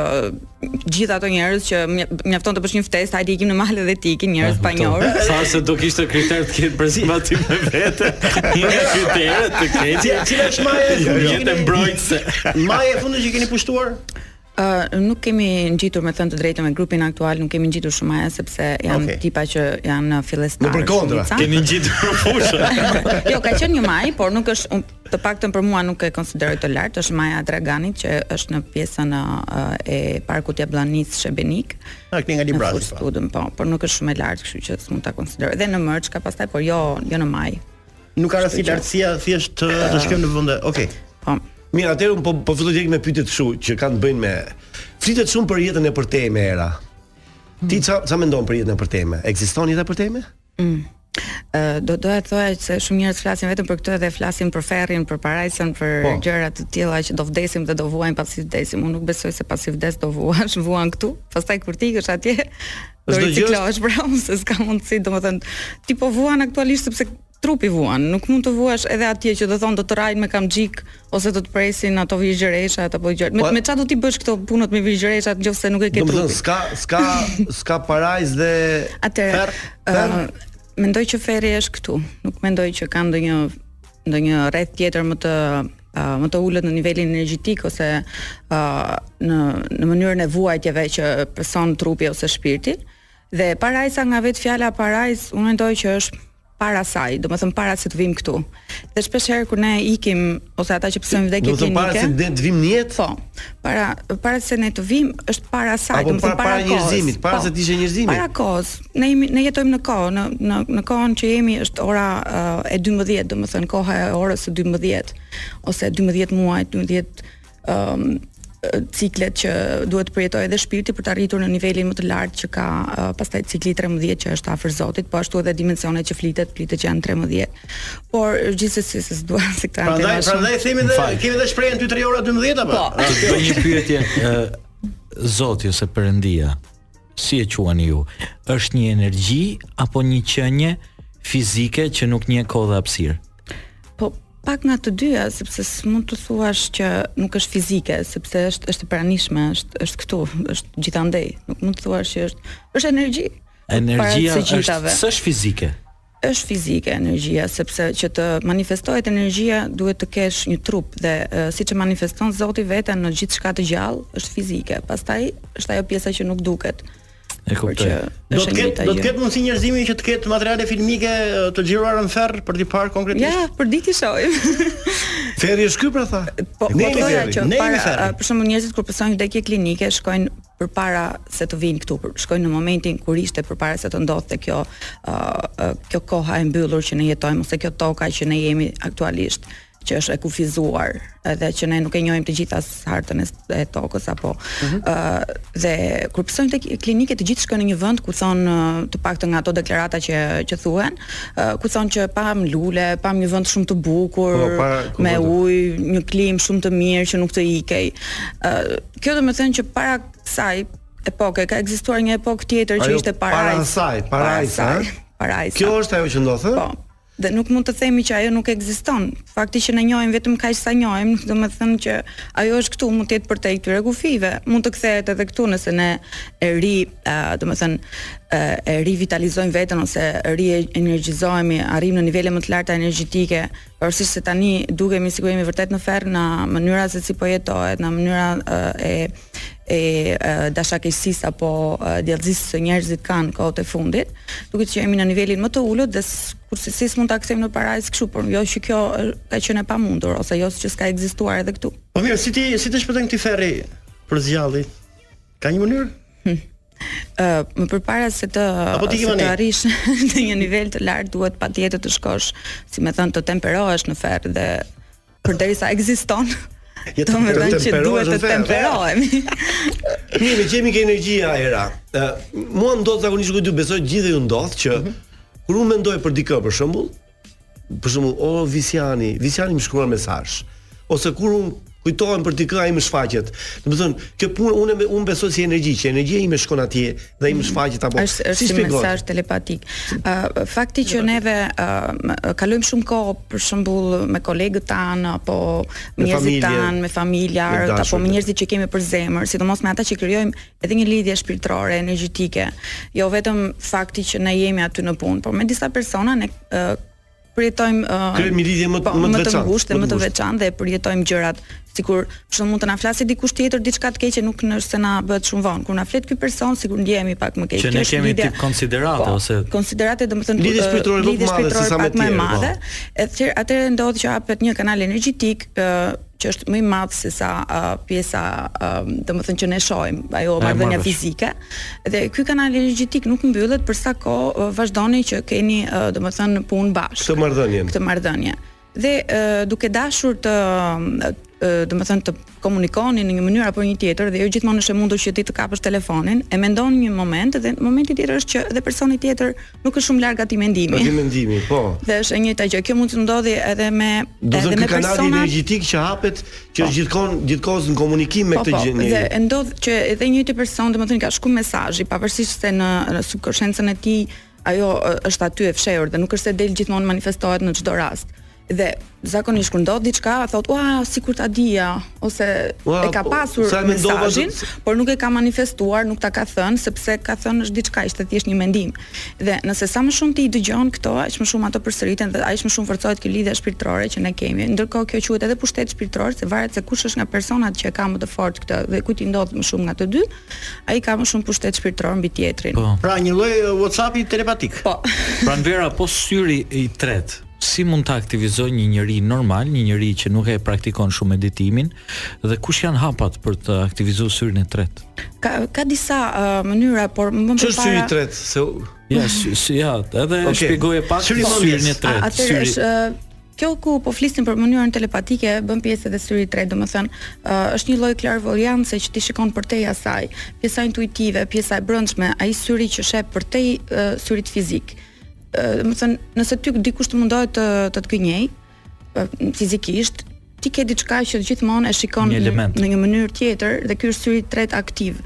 gjithë ato njerëz që mja- mjafton të bësh një ftesë, hajde ikim në male dhe ti ikin njerëz pa njohur.
Sa se do kishte kriter të ketë përzim aty me vete. Një nga kriteret të keqe.
Cila është maja e
Jo,
fundit?
jo.
që keni-
Jetë mbrojtëse.
Maja e fundit që keni pushtuar?
Uh, nuk kemi ngjitur me thënë të drejtën me grupin aktual, nuk kemi ngjitur shumë aja sepse janë
Okej.
tipa që janë fillestar.
Në përkontra,
shumica.
keni ngjitur fushën.
jo, ka qenë një maj, por nuk është unë- të paktën për mua nuk e konsideroj të lartë, është maja e Draganit që është në pjesën uh, e parkut Jabllanis Shebenik.
Ah, këni nga
pra,
Librazi,
Në Furstudën, po, por nuk është shumë e lartë, kështu që s'mund ta konsideroj. Dhe në Mërç ka pastaj, por jo, jo në maj.
Nuk ka
Kështu
rasti
që-
lartësia, thjesht të, të shkojmë në vende. Okej.
Po.
Mirë, atëherë unë po po filloj direkt me pyetjet kështu që kanë të bëjnë me flitet shumë për jetën e përtejme era. Ti ça ça mendon për jetën e përtejme? Ekziston jeta e përtejme?
Mm. Ë, do doja të thoja se shumë njerëz flasin vetëm për këtë dhe flasin për ferrin, për parajsën, për
Po.
gjëra të tilla që do vdesim dhe do vuajmë pasi vdesim. Unë nuk besoj se pasi vdes do vuash, vuan këtu, pastaj kur ti ikësh atje do
Çdo gjë është-
riciklohesh pra, se s'ka mundësi, domethënë ti po vuan aktualisht sepse trupi vuan, nuk mund të vuash edhe atje që do thonë do të rajnë me kamxhik ose do të presin ato vizhgjereshat apo gjëra. Me,
Po-
me çfarë do ti bësh këto punët me vizhgjereshat nëse nuk e ke trupin?
Domethënë s'ka s'ka s'ka parajs dhe
Atëre, ë, mendoj që Ferri është këtu. Nuk mendoj që ka ndonjë ndonjë rreth tjetër më të ë, më të ulët në nivelin energjetik ose ë, në në mënyrën e vuajtjeve që pëson trupi ose shpirti. Dhe parajsa nga vetë fjala parajs, unë mendoj që është para saj, do më thëmë para se të vim këtu. Dhe shpesh herë kur ne ikim, ose ata që pësojmë vdekje
Do të thënë
klinike...
para se ne të vim në jetë?
Po, para, para se ne të vim, është para saj,
Apo
do më
para-
thëmë para, Po,
para njerëzimit, para se të ishte njerëzimi.
Para kohës. Ne jemi ne jetojmë në kohë, në në në kohën që jemi është ora uh, e 12, domethënë koha e orës së 12 ose 12 muaj, 12 ëm ciklet që duhet të përjetojë edhe shpirti për të arritur në nivelin më të lartë që ka uh, pastaj cikli 13 që është afër Zotit, po ashtu edhe dimensionet që flitet, flitet që janë 13. Por gjithsesi se s'dua se këta janë
Prandaj,
tema shumë-
prandaj themi dhe
M'fal.
kemi dhe shprehjen 2-3 ora 12 apo?
Po,
Të të bëj një pyetje ë, Zoti ose Perëndia, si e quani ju? Është një energji apo një qenie fizike që nuk njeh kohë dhe hapësirë?
Po pak nga të dyja, sepse s'mund të thuash që nuk është fizike, sepse është është e pranishme, është është këtu, është gjithandej. Nuk mund të thuash që është është energji.
Energjia
Para të
është
gjithave.
s'është fizike.
është fizike energjia, sepse që të manifestohet energjia duhet të kesh një trup dhe e, siç e manifeston Zoti veten në gjithçka të gjallë, është fizike. Pastaj është ajo pjesa që nuk duket.
E kuptoj.
Do
Është
të
e njëjta
ketë do të
gjë.
ketë mundësi njerëzimi që të ketë materiale filmike
uh,
eh, të xhiruara në ferr për t'i parë konkretisht.
Ja, për ditë i shohim.
Ferri është ky pra tha.
Po,
Ne
ne
jemi
doja
ferri,
që
ne jemi
para, uh,
ferri.
a, për shembull njerëzit kur pësojnë vdekje klinike shkojnë përpara se të vinë këtu, për- shkojnë në momentin kur ishte përpara se të ndodhte kjo ë, ë, kjo koha e mbyllur që ne jetojmë ose kjo toka që ne jemi aktualisht që është e kufizuar edhe që ne nuk e njohim të gjitha s- hartën e s- e tokës apo ë dhe kur pësojnë tek klinike të gjithë shkojnë në një vend ku thonë ë, të paktën nga ato deklarata që që thuhen, ë, ku thonë që pam lule, pam një vend shumë të bukur,
Po, para- ku
me
po të-
ujë, një klim shumë të mirë që nuk të ikej. Ë kjo do të thënë që para kësaj epoke ka ekzistuar një epokë tjetër që
Ajo
ishte
para
parajs.
asaj, parajs,
Para
ha?
asaj, parajsa.
Kjo është ajo që ndodh, ë?
Po. Dhe nuk mund të themi që ajo nuk ekziston. Fakti që ne njohim vetëm kaq sa njohim, do të thënë që ajo është këtu, mund të jetë për te këtyre kufive, mund të kthehet edhe këtu nëse ne e ri, ë, do të thënë, ë, e rivitalizojmë veten ose ri energjizohemi, arrim në nivele më të larta energjetike, pavarësisht se tani dukemi sikur jemi vërtet në ferr në mënyra se si po jetohet, në mënyra ë, e e e, dashakeqësisë apo e, djallësisë që njerëzit kanë kohët e fundit, duket që jemi në nivelin më të ulët dhe s- kurse si s'mund ta kthejmë në parajs kështu, por jo që kjo e, ka qenë e pamundur ose jo që s'ka ekzistuar edhe këtu.
Po mirë, si ti si ti shpëton këtë ferri për zgjalli? Ka një mënyrë?
Ë më përpara se të
Apo ti
se
Kimani?
të arrish në një nivel të lartë duhet patjetër të shkosh, si më thënë, të temperohesh në ferr dhe përderisa ekziston.
Je
Do me
temper-
thënë që
temperohesh
duhet
në
të
ferr,
temperohemi.
Mirë, me qemi ke energjia era. Ë, mua më ndodh zakonisht kur dy besoj gjithë ju ndodh që
Mhm.
kur unë mendoj për dikë për shembull, për shembull, o Visiani, Visiani më shkruan mesazh. Ose kur unë kujtohem për dikë ai më shfaqet. Do të thonë, kjo punë unë e- unë besoj si energji, që energjia ime shkon atje dhe
Mhm.
i më shfaqet apo
Është është si mesazh telepatik. Ë fakti që neve ë m- kalojmë shumë kohë për shembull me kolegët tan apo me
Me
njerëzit
familje,
tan, me familjarët
me
apo me
dashurit.
njerëzit që kemi për zemër, sidomos me ata që krijojmë edhe një lidhje shpirtërore, energjetike. Jo vetëm fakti që ne jemi aty në punë, por me disa persona ne ë përjetojmë ë
Krijojmë një lidhje më-
po,
më të
më të
veçantë,
ngushtë, dhe
më të
më të
ngushtë.
veçantë dhe përjetojmë gjërat sikur për shembull mund të na flasë dikush tjetër diçka të keqe nuk në se na bëhet shumë vonë. Kur na flet ky person, sikur ndjehemi pak më keq.
Që ne kemi tip konsiderate
po,
ose
konsiderate domethënë
Lidhje shpirtërore më të madhe se sa me tjerë, po.
Atëherë atëherë ndodh që hapet një kanal energjetik ë, që është më i madh se sa uh, pjesa uh, domethënë që ne shohim, ajo
E,
marrëdhënia
marrëvesh.
fizike. Dhe ky kanal energjetik nuk mbyllet për sa kohë uh, vazhdoni që keni uh, domethënë punë bashkë.
Këtë marrëdhënien.
Këtë marrëdhënie. Dhe uh, duke dashur të ë, domethënë të komunikoni në një mënyrë apo një tjetër dhe jo gjithmonë është e mundur që ti të kapësh telefonin, e mendon një moment dhe në momentin tjetër është që dhe personi tjetër nuk është shumë larg atij mendimi.
Aty mendimi, po.
Dhe është e njëjta gjë. Kjo mund të ndodhi edhe me
Do të
edhe
thonë
me
ky kanali
persona
energjetik që hapet, që është gjithkon gjithkohës në komunikim me
Po,
këtë
po,
gjë njeriu.
Dhe e ndodh që edhe një tjetër person, domethënë ka shkuar mesazhi, pavarësisht se në, në subkonshencën e tij ajo ë, është aty e fshehur dhe nuk është se del gjithmonë manifestohet në çdo rast. Dhe zakonisht kur ndodh diçka, thot, "Ua, sikur ta dija" ose
Ua,
e ka
po,
pasur
sa e mendova
mesazhin,
do të-
por nuk e ka manifestuar, nuk ta ka thënë, sepse ka thënë është diçka, ishte thjesht një mendim. Dhe nëse sa më shumë ti i dëgjon këto, aq më shumë ato përsëriten dhe aq më shumë forcohet kjo lidhje shpirtërore që ne kemi. Ndërkohë kjo quhet edhe pushtet shpirtëror, se varet se kush është nga personat që e ka më të fortë këtë dhe kujt i ndodh më shumë nga të dy, ai ka më shumë pushtet shpirtëror mbi tjetrin.
Po.
Pra një lloj uh, WhatsApp-i telepatik.
Po.
Pranvera, po syri i tret, si mund të aktivizoj një njëri normal, një njëri që nuk e praktikon shumë meditimin, dhe kush janë hapat për të aktivizu syrin e tret?
Ka ka disa uh, mënyra, por më
Ç'është syri i
përpara
tret? Se u-
Ja, sy, sy, ja edhe
Okej.
okay. shpjegoje pak
Syri
syrin,
i
e tret.
A- Atëherë është ë, kjo ku po flisim për mënyrën telepatike bën pjesë edhe syri i tretë, domethënë ë, është një lloj klarvojancë që ti shikon përtej asaj, pjesa intuitive, pjesa e brendshme, ai syri që sheh përtej ë, syrit fizik. Ë, Domethënë nëse ty dikush të mundohet të të të gënjej ë, fizikisht, ti ke diçka që gjithmonë e shikon
Një
në-
element.
në një mënyrë tjetër dhe ky është syri i tretë aktiv.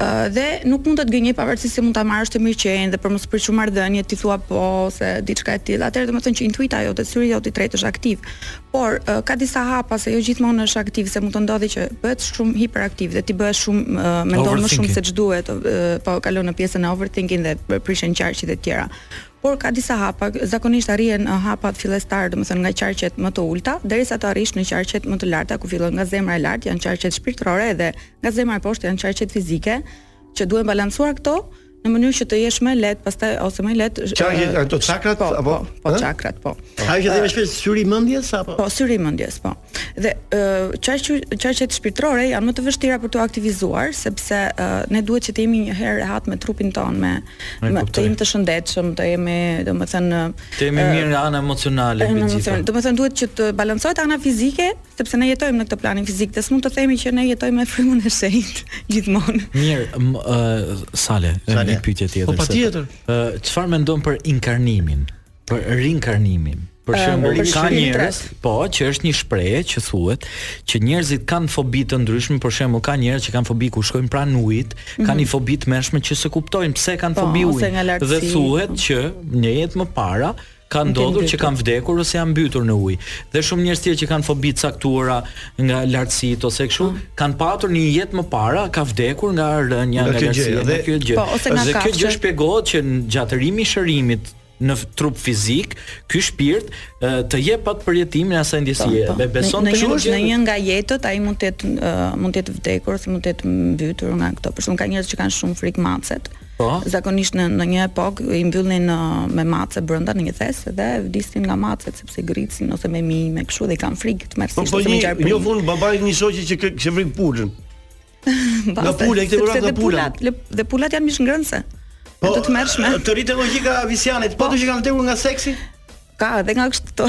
Ë dhe nuk mund të të gënjej pavarësisht se mund ta marrësh të mirëqenjë dhe për mos pritur marrëdhënie ti thua po ose diçka e tillë. Atëherë domethënë që intuita jote, syri jot i tretë është aktiv. Por ë, ka disa hapa se jo gjithmonë është aktiv, se mund të ndodhi që bëhet shumë hiperaktiv dhe ti bëhesh shumë ë, mendon më shumë
Overthinking.
se ç'duhet, ë, po kalon në pjesën e overthinking dhe prishen qarqit e tjera. Por ka disa hapa, zakonisht arrihen ë, hapat fillestar, domethënë nga qarqet më të ulta derisa të arrish në qarqet më të larta ku fillon nga zemra e lartë, janë qarqet shpirtërore dhe nga zemra e poshtë janë qarqet fizike, që duhen balancuar këto në mënyrë që të jesh më lehtë, pastaj ose më lehtë ë,
Qarqet, ato çakrat apo
po
Ë?
çakrat, po.
Ajo që themi shpesh syri i mendjes apo
Po, syri i mendjes, po. Dhe ë qarqu- qarqet shpirtërore janë më të vështira për t'u aktivizuar sepse ë, ne duhet që të jemi një herë rehat me trupin ton, me,
E
me
kuptoj.
të jemi të shëndetshëm, të jemi, domethënë, ë,
Temi
ë,
mirë anë emocionale
Ë,
mbi
në
gjitha.
emocion. Do të thënë duhet që të balancohet ana fizike, sepse ne jetojmë në këtë planin fizik, dhe s'mund të themi që ne jetojmë me frymën e shenjtë gjithmonë.
Mirë, m, ë, Sale, e
Sale.
një pyetje tjetër.
Po,
se-
patjetër.
Ë, Çfarë mendon për inkarnimin? Për rinkarnimin? Për
Ë,
shembull,
për
ka
shpirin e
njerëz, po, që është një shprehje që thuhet që njerëzit kanë fobi të ndryshme, për shembull, ka njerëz që kanë fobi kur shkojnë pranë ujit, kanë një fobi të mërshme që s'e kuptojnë pse kanë
Mhm. Po,
fobi
ose
ujit.
nga lartësi.
Dhe thuhet që një jetë më para ka ndodhur që
mbytur.
kanë vdekur ose janë mbytur në ujë. Dhe shumë njerëz tjerë që kanë fobi të caktuara nga lartësitë ose kështu,
Mm.
kanë patur një jetë më para, ka vdekur nga rënja
Nga
nga
kjo gjë,
lartësia,
dhe-
nga kjo gjë.
Po, ose nga
Dhe kjo
kafshë.
gjë shpjegohet që në gjatërimi i shërimit në f- trup fizik, ky shpirt e, të jep atë përjetimin e asaj ndjesie.
Po, po.
Dhe beson të
në, në,
kështu
një, në një
është.
nga jetët ai mund të jetë ë, mund të jetë vdekur ose mund të jetë mbytur nga këto. Për shembull ka njerëz që kanë shumë frikë macet.
Po.
Zakonisht në, në një epokë i mbyllnin ë, me mace brenda në një thes dhe vdisin nga macet sepse gricin ose me mi, me kështu dhe i kanë frikë të
Po
marrësisht
po
ose me
një
qarprim.
një fund babai një shoqe që kë- që vrin pulën.
Nga
pula, i kthej vrap nga pula.
Dhe pulat janë mish ngrënëse. Po, të të mërshme.
Të rritë logjika e visianit, po të që kanë vdekur nga seksi?
Ka edhe nga kështu.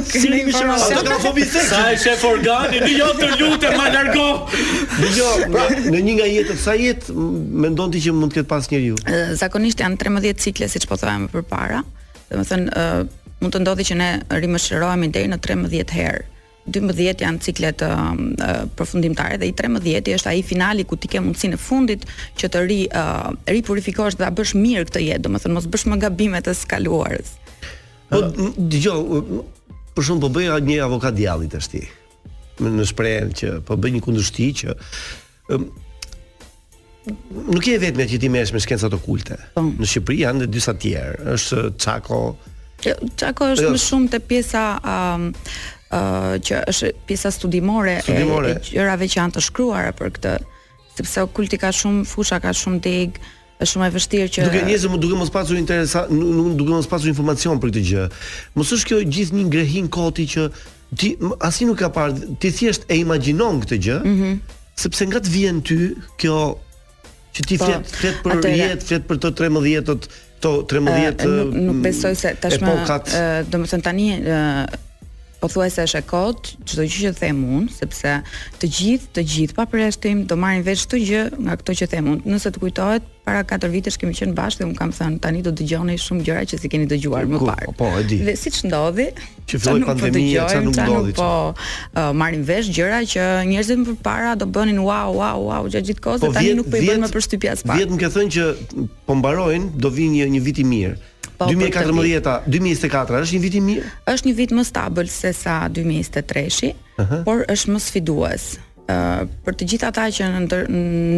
Si
Kënë
mi shëra, ato kanë fobi seksi.
e shef organi, në jo të lutem, ma largo.
Dgjoj, pra në një nga jetët sa jetë m- mendon ti që mund të ketë pas njeriu?
Ë, zakonisht janë 13 cikle siç po them më përpara. Domethënë ë mund të ndodhi që ne rimëshirohemi deri në 13 herë. 12 janë ciklet uh, përfundimtare dhe i 13 është ai finali ku ti ke mundësinë e fundit që të ri uh, ripurifikosh dhe ta bësh mirë këtë jetë, domethënë mos bësh më gabimet e skaluarës.
Po m- dgjoj, m- për shembull po bëja një avokat djallit tash ti. Në në shprehjen që po bëj një kundërshti që ëm, nuk je vetëm që ti merresh me shkencat okulte.
Po.
Në Shqipëri janë edhe disa tjerë. Është Çako,
Jo, Çako është
Jo.
më shumë te pjesa um, uh, që është pjesa studimore,
Studimore.
e, e gjërave që janë të shkruara për këtë, sepse okulti ka shumë fusha, ka shumë deg, është shumë e vështirë që
Duke njerëz duke mos pasur interesa, nuk- nuk- duke mos pasur informacion për këtë gjë. Mos është kjo gjithë një ngrehin koti që ti m- asnjë nuk ka parë, ti thjesht e imagjinon këtë gjë,
Mhm.
sepse nga të vjen ty kjo që ti
Po,
flet flet për
atëre.
jetë, flet për të 13-të, to 13
Ë, nuk, nuk besoj se tashmë
epokat.
ë, domethënë tani ë, pothuajse është e kot çdo gjë që them unë sepse të gjithë të gjithë pa përjashtim do marrin vesh çdo gjë nga këto që them unë nëse të kujtohet para 4 vitesh kemi qenë bashkë dhe unë kam thënë tani do dëgjoni shumë gjëra që si keni dëgjuar më
Ku-
parë
po, e di.
dhe siç ndodhi
Që filloi
qa nuk po
pandemia, qa
dëgjojmë,
nuk
qa
ndodhi,
po ë, marrin vesh gjëra që njerëzit më përpara do bënin wow wow wow gjatë gjithë kohës dhe tani nuk po i bën më përshtypja as pak
Vjet më ke thënë që po mbarojnë, do vinë një, një vit i mirë.
Po,
2014-a, 2024-a është një vit i mirë.
është një vit më stabil se sa 2023-shi, por është më sfidues. Uh, për të gjithë ata që në ndër,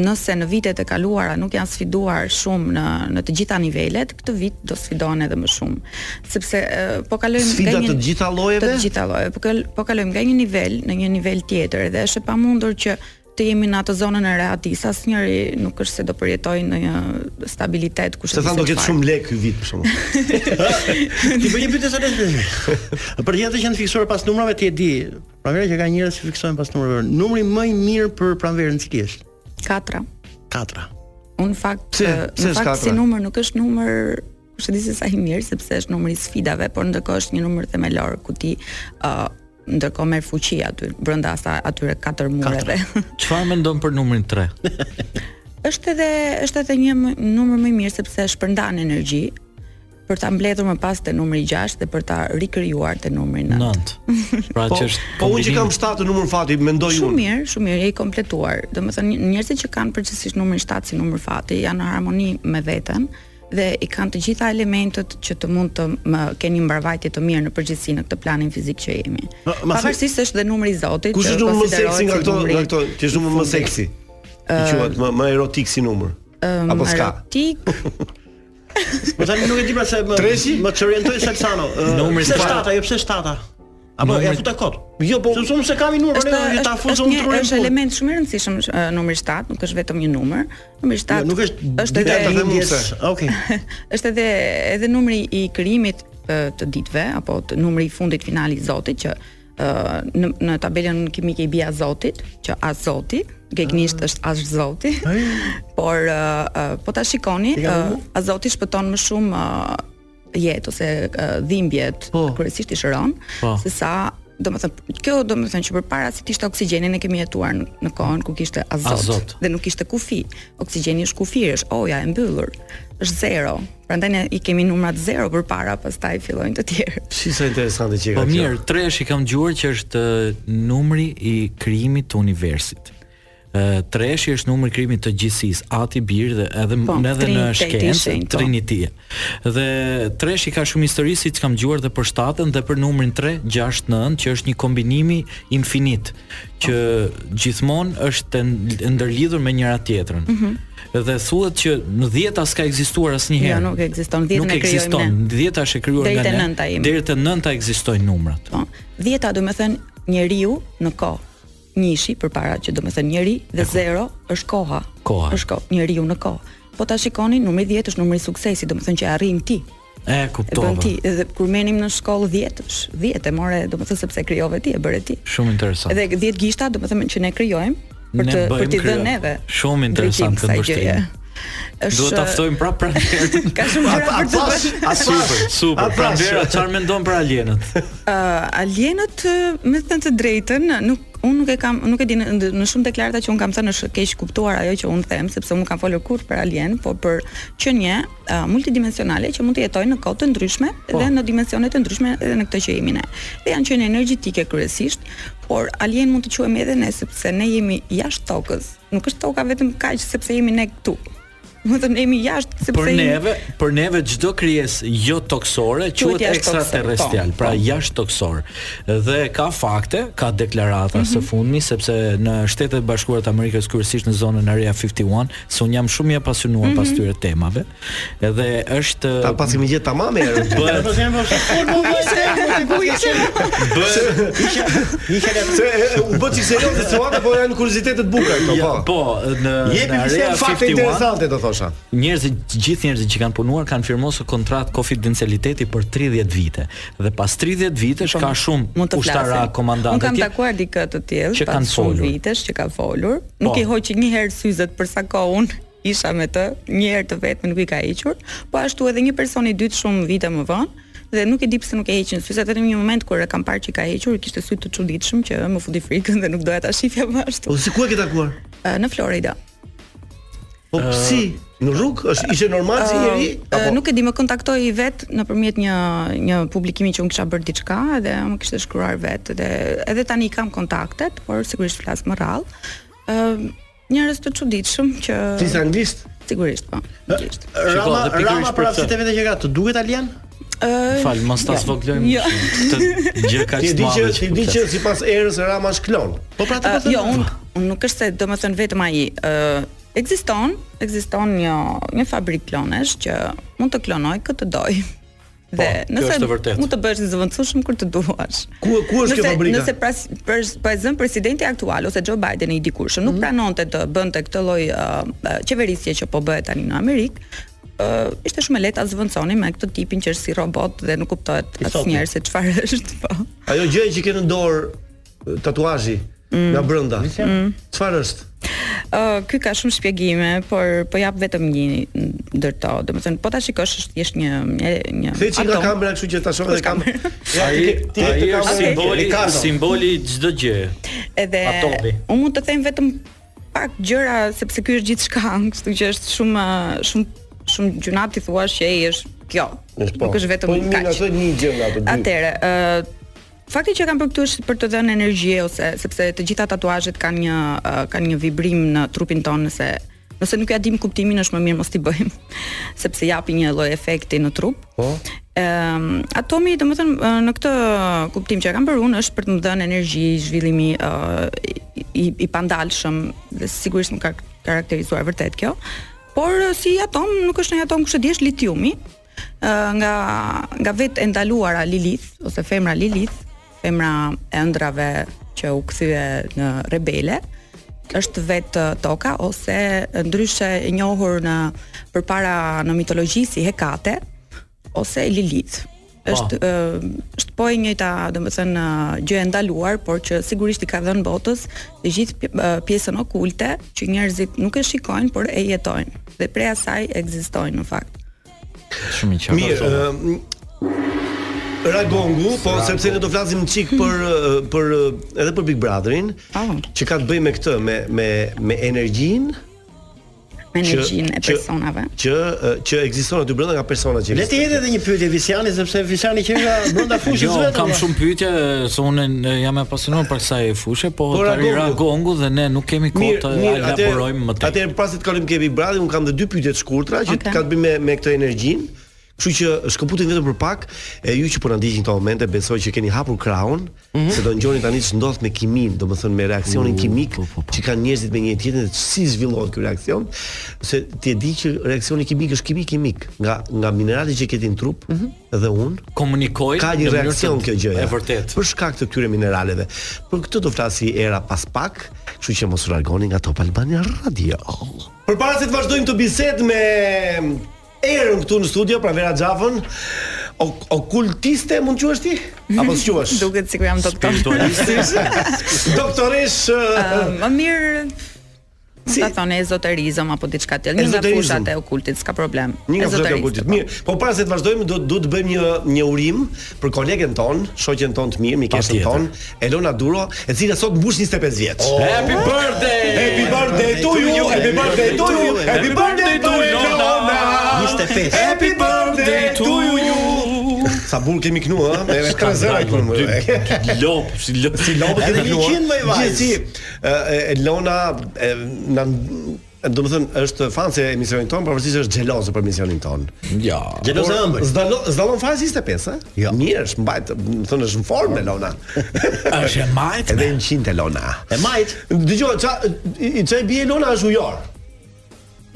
nëse në vitet e kaluara nuk janë sfiduar shumë në në të gjitha nivelet, këtë vit do sfidohen edhe më shumë, sepse uh, po kalojmë
Sfida të gjitha llojeve?
Të gjitha llojeve, po, kal, po kalojmë nga një nivel në një nivel tjetër dhe është e pamundur që të jemi në atë zonën e rehatis, asnjëri nuk është se do përjetojë ndonjë stabilitet kush e
Se
di
thanë do
se
ketë
çfarë.
shumë lek ky vit për shkakun.
Ti bëj një pyetje sa lehtë. Për jetën që janë fiksuar pas numrave ti e di. Pranverë që ka njerëz që fiksojnë pas numrave. Numri më i mirë për pranverën cili është?
Katra.
Katra.
Unë fakt,
Pse?
eh,
Pse
në
është
fakt si
katra?
numër nuk është numër kush e di se sa i mirë sepse është numri i sfidave, por ndërkohë është një numër themelor ku ti ë ndërkohë merr fuqi aty brenda asa atyre katër mureve.
Çfarë mendon për numrin 3?
është edhe është edhe një më- numër më i mirë sepse shpërndan energji për ta mbledhur më pas te numri 6 dhe për ta rikrijuar te numri 9.
9. Pra
Po,
që është
po unë që kam 7 numër fati, mendoj
Shumë
unë.
mirë, shumë mirë, je i kompletuar. Domethënë njerëzit që kanë përgjithsisht numrin 7 si numër fati janë në harmoni me veten dhe i kanë të gjitha elementet që të mund të më keni një mbarvajtje të mirë në përgjithësi në këtë planin fizik që jemi.
ma se-
Pavarësisht se është dhe numri i Zotit,
Kush
që
është numri më
konsiderohet
seksi nga
si
këto,
numri-
nga këto, që është numri më
fundit.
seksi? I
Ë,
quhet më më erotik si numër.
ëm,
Apo s'ka?
erotik,
Po tani nuk e di pra se më
Treshi?
më çorientoi Salsano. Ë,
Numri
pse
i parë.
7-a, jo pse 7-a? Apo
Numri-
ja futa kot. Jo, po se unë se kam i numrin,
është
jo,
ne ta
është-
fuzon
është një-
trurin.
Është element shumë i rëndësishëm ë, numri 7, nuk është vetëm një numër. Numri 7
Jo, nuk është
edhe
dita e lindjes. Okej.
është edhe edhe numri i krijimit e, të ditëve apo të numri i fundit final i Zotit që e, në, në tabelën kimike i bia Zotit, që as Zoti,
Ah.
gegnisht është as Zoti. Por e, e, po ta shikoni,
I ka
e,
vënë?
as Zoti shpëton më shumë e, jetë ose e, dhimbjet kryesisht i shëron,
Po.
se sa do të thënë, kjo do të thënë që përpara si kishte oksigjenin e kemi jetuar në, në kohën ku kishte azot,
Azot.
dhe nuk kishte kufi. Oksigjeni është kufi, është oja e mbyllur, është zero. Prandaj ne i kemi numrat zero përpara, pastaj fillojnë të tjerë.
Si sa interesante që e
Po
ka.
mirë, treshi kam dëgjuar që është ë, numri i krijimit të universit. Ë treshi është numri i krijimit të gjithësisë, ati bir dhe edhe
Po,
edhe në
Triniteti
shkencë
shenjë, po.
Trinity. Dhe treshi ka shumë histori siç kam dëgjuar dhe për shtatën dhe për numrin 3, 6, 9, që është një kombinimi infinit që gjithmonë është e n- e ndërlidhur me njëra tjetrën.
Mhm.
Dhe thuhet që në 10 as ka ekzistuar asnjëherë.
Jo, nuk ekziston. 10
Nuk
ne krijojmë
ekziston.
ne.
10 është e krijuar
Deri
nga
te
ne.
nënta jemi.
Deri te 9 ekzistojnë numrat.
po. Dhjeta do të thënë njeriu në kohë. Njëshi përpara që do të thënë njeri dhe zero është koha.
Koha.
Është kohë, njeriu në kohë. Po ta shikoni, numri 10 është numri i suksesit, do të thënë që e arrin ti.
E
E bën
kuptova.
ti, edhe kur menim në shkollë 10, është 10 e more, do të thënë sepse krijove ti, e bëre ti.
Shumë interesant.
Edhe 10 gishta, do të thënë që ne krijojmë për
Po. Ne
të për
bëjmë
t'i
kryo.
dhënë neve.
Shumë interesant
drejtim
këtë
kësaj gjëje.
mbështetje. Duhet ta ftojmë prapë pra pranverë.
Ka shumë gjëra për të bërë.
Super, super.
Apash.
pra
Pranverë, pra, çfarë mendon për alienët?
Uh, alienët, ë, me të thënë të drejtën, nuk unë nuk e kam nuk e di në, në- në shumë deklarata që un kam thënë është keq kuptuar ajo që un them, sepse un kam folur kurrë për alien, po për qenie uh, multidimensionale që mund të jetojnë në kohë të ndryshme dhe në dimensione të ndryshme edhe në këtë që jemi ne. Dhe janë qenie energjetike kryesisht, por alien mund të quhemi edhe ne sepse ne jemi jashtë tokës. Nuk është toka vetëm kaq sepse jemi ne këtu. do të thënë jemi jashtë sepse
për neve, për neve çdo krijesë jo toksore quhet ekstraterrestrial,
po.
pra jashtë toksor. Dhe ka fakte, ka deklarata mm -hmm. së
Mhm.
fundmi sepse në Shtetet e Bashkuara të Amerikës kryesisht në zonën Area 51, se un jam shumë i apasionuar mm -hmm. pas
Mhm.
këtyre temave. Edhe është
Ta pas kemi gjetë tamam erë.
Bëhet
Isha u bë çik serioze se ata po janë kuriozitete të bukura këto po.
Po, në
jepi disa fakte interesante do thosha.
Njerëzit, gjithë njerëzit që kanë punuar kanë firmosur kontratë konfidencialiteti për 30 vite dhe pas 30 vitesh
Po,
ka shumë ushtara komandantë.
Unë kam takuar dikë të tillë që kanë folur Po. vitesh që ka folur. Nuk i hoqi një herë syzet për sa kohë isha me të, një herë të vetëm nuk i ka hequr, po ashtu edhe një person i dytë shumë vite më vonë, dhe nuk e di pse nuk e heqin syze vetëm një moment kur e kam parë që ka hequr, kishte sy të çuditshëm që më futi frikën dhe nuk doja ta shifja më ashtu.
Po,
O si ku e ke takuar?
Në Florida.
Po uh, si? Në rrugë është ishte normal si njëri?
Uh, apo? Nuk e di, më kontaktoi vet nëpërmjet një një publikimi që unë kisha bërë diçka dhe më kishte shkruar vet dhe edhe tani kam kontaktet, por sigurisht flas më rrallë. Ëm uh, njerëz të çuditshëm që
Ti je anglisht?
Sigurisht po. Anglisht.
Rama, Rama pra para si vetë që ka, të duket italian?
Uh, Fal, mos ta zvoglojmë. Jo. Këtë gjë kaq
të madhe. Ti di që ti di që sipas erës Rama është klon.
Po pra të them. Jo, unë un nuk është se domethënë vetëm ai ë ekziston, ekziston një një fabrikë klonesh që mund të klonoj këtë doj. Dhe po, nëse mund të bësh i zëvendësueshëm kur të duash.
Ku ku është
nëse,
kjo fabrika?
Nëse pras për pa zën presidenti aktual ose Joe Biden i dikurshëm
Mhm.
nuk mm -hmm. pranonte të bënte këtë lloj uh, qeverisje që po bëhet tani në Amerikë, uh, ishte shumë e lehtë ta zëvendësoni me këtë tipin që është si robot dhe nuk kuptohet asnjëherë se çfarë është, po.
Ajo gjë që ke në dorë tatuazhi mm. nga brenda. Çfarë mm. është?
Uh, ky ka shumë shpjegime, por po jap vetëm një ndërto. Domethënë, po ta shikosh është thjesht një një një.
Thej çka kamera, kështu që ta shoh edhe kamerë. Ai
ai është simboli, simboli çdo gjë.
Edhe unë mund të them vetëm pak gjëra sepse ky është gjithçka, kështu që është shumë shumë shumë gjunat i thua që ai është kjo. Nuk është vetëm
kaq. Po një ato një gjë nga ato dy.
Atëherë, ë Fakti që kam për këtu është për të dhënë energji ose sepse të gjitha tatuazhet kanë një uh, kanë një vibrim në trupin tonë nëse nëse nuk ja dim kuptimin është më mirë mos t'i bëjmë sepse japi një lloj efekti në trup. Po. Ëm um, atomi domethënë në këtë kuptim që e kam për unë është për të më dhënë energji, zhvillimi uh, i, i pandalshëm dhe sigurisht më ka karakterizuar vërtet kjo. Por si atom nuk është një atom kush e di është litiumi nga nga vetë e ndaluara Lilith ose femra Lilith femra e ëndrave që u kthye në rebele është vetë toka ose ndryshe e njohur në përpara në mitologji si Hekate ose Lilith. Është po. është po e njëjta, domethënë gjë e ndaluar, por që sigurisht i ka dhënë botës të gjithë pjesën okulte që njerëzit nuk e shikojnë, por e jetojnë dhe prej asaj ekzistojnë në fakt.
Shumë i qartë.
Mirë, Ragongu, po sepse ne do flasim çik për
Hmm.
për edhe për Big Brotherin,
Po.
oh. që ka të bëjë me këtë, me me me energjinë
me energjinë e personave.
Që që ekziston aty brenda nga persona që.
Le të jetë edhe një pyetje Visiani sepse Visiani që nga brenda po. fushës
jo, vetëm. Jo,
po.
kam shumë pyetje, se unë jam e pasionuar për kësaj fushë, po Tarira Gongu dhe ne nuk kemi kohë të elaborojmë më tej.
Atëherë pasi të kalojmë ke Big Brotherin, un kam edhe dy pyetje të shkurtra që okay. ka të bëjë me me këtë energjinë. Kështu që shkëputin vetëm për pak, e ju që po na ndiqni këto momente, besoj që keni hapur krahun, mm -hmm. se do ngjoni tani ç'ndodh me kimin, domethënë me reaksionin kimik uh, po, po, po. që kanë njerëzit me njëri tjetrin, si zhvillohet ky reaksion, se ti e di që reaksioni kimik është kimik kimik, nga nga mineralet që keti në trup mm -hmm. dhe unë
komunikoj
ka një reaksion kjo gjë.
Është vërtet.
Për shkak të këtyre mineraleve. Për këtë do flasi era pas pak, kështu që mos u largoni nga Top Albania Radio. Përpara se të vazhdojmë të bisedë me erën këtu në studio pra Vera Xhafën. Okultiste mund quhesh ti? Apo s'quhesh?
Duket sikur jam doktor.
Spiritualiste. Doktoresh.
Uh, më mirë Si? Ta thonë ezoterizëm apo diçka tjetër. Një nga fushat e okultit, s'ka problem.
Një nga fushat e okultit. Mirë, po para se të vazhdojmë do do të bëjmë një një urim për kolegen ton, shoqen ton të mirë, mikesën ton, Elona Duro, e cila sot mbush 25 vjeç.
Oh. Happy birthday!
Happy birthday to you, happy birthday to you, happy birthday to Elona.
25.
Happy birthday to you. Sa bur kemi kënu, ë? Me tre zëra kënu.
Lop, si lop,
si lop kemi kënu. Gjithë si Elona na do të thënë është fan se emisionin ton, pavarësisht është xheloze për emisionin ton.
Jo.
Xheloze ëmbël. Zdalon zdalon fare 25, ë? Jo. Mirë, është mbajt, më thënë është në formë Elona.
Është e majt.
Edhe 100 Elona.
E majt.
Dgjoj, ça çai bie Elona është ujor.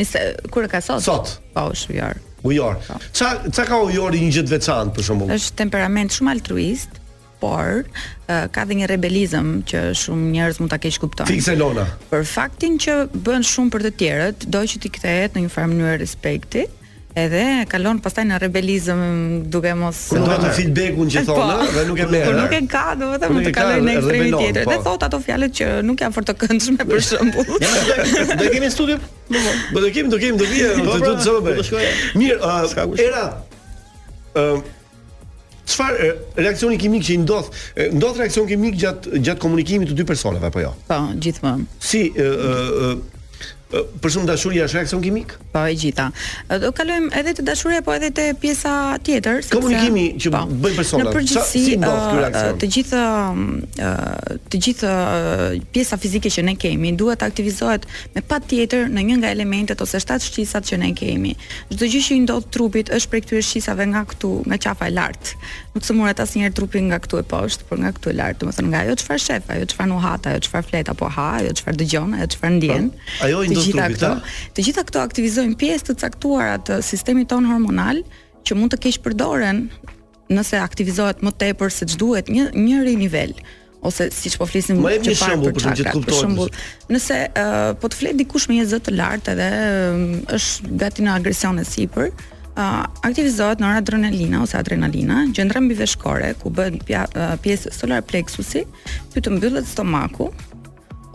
Nëse kur e ka sot?
Sot.
Po, është ujor.
Ujor. Ça ça ka ujori një gjë të veçantë për shembull?
Është temperament shumë altruist por uh, ka dhe një rebelizëm që shumë njerëz mund ta keq kuptojnë.
Fikse Lona.
Për faktin që bën shumë për të tjerët, do që ti kthehet në një farë mënyrë respekti, edhe kalon pastaj në rebelizëm duke mos
Kur nuk ka feedbackun që thonë,
po,
dhe nuk e merr.
Kur nuk e ka, domethënë mund të kaloj në ekstremin tjetër.
po.
Dhe thot ato fjalët që nuk janë fort të këndshme për shembull.
Do të kemi studio? Do të kemi, do kemi, do
Po,
vijë, do të do të shkojë. Mirë, era ë Çfarë reaksioni kimik që i ndodh? Ndodh reaksion kimik gjatë gjatë komunikimit të dy personave apo jo?
Po, gjithmonë.
Si ë ë për shumë dashuria është reaksion kimik?
Po, e gjitha. Do kalojmë edhe te dashuria, po edhe te pjesa tjetër,
sepse komunikimi që po, bëjnë personat.
Në përgjithësi, si ndodh ky reaksion? Të gjithë ë të gjithë pjesa fizike që ne kemi duhet të aktivizohet me patjetër në një nga elementet ose shtat shqisat që ne kemi. Çdo gjë që i ndodh trupit është prej këtyre shqisave nga këtu, nga qafa e lartë. Nuk sëmuret asnjëherë trupi nga këtu e poshtë, por nga këtu e lartë, domethënë nga ajo çfarë shef, ajo çfarë nuhat, ajo çfarë flet apo ha, ajo çfarë dëgjon, ajo çfarë ndjen.
Pra, Ajo i ndodh trupit.
Këto, të gjitha këto aktivizojnë pjesë të caktuara të sistemit ton hormonal që mund të keq përdoren nëse aktivizohet më tepër se ç'duhet një njëri nivel ose siç po flisim
më një shembull për të kuptuar. Për shembull,
nëse uh, po të flet dikush me një zë të lartë edhe uh, është gati në agresion e sipër, uh, aktivizohet nëra adrenalina ose adrenalina, gjendra mbiveshkore ku bëhet uh, pjesë solar plexusi, ty të mbyllet stomaku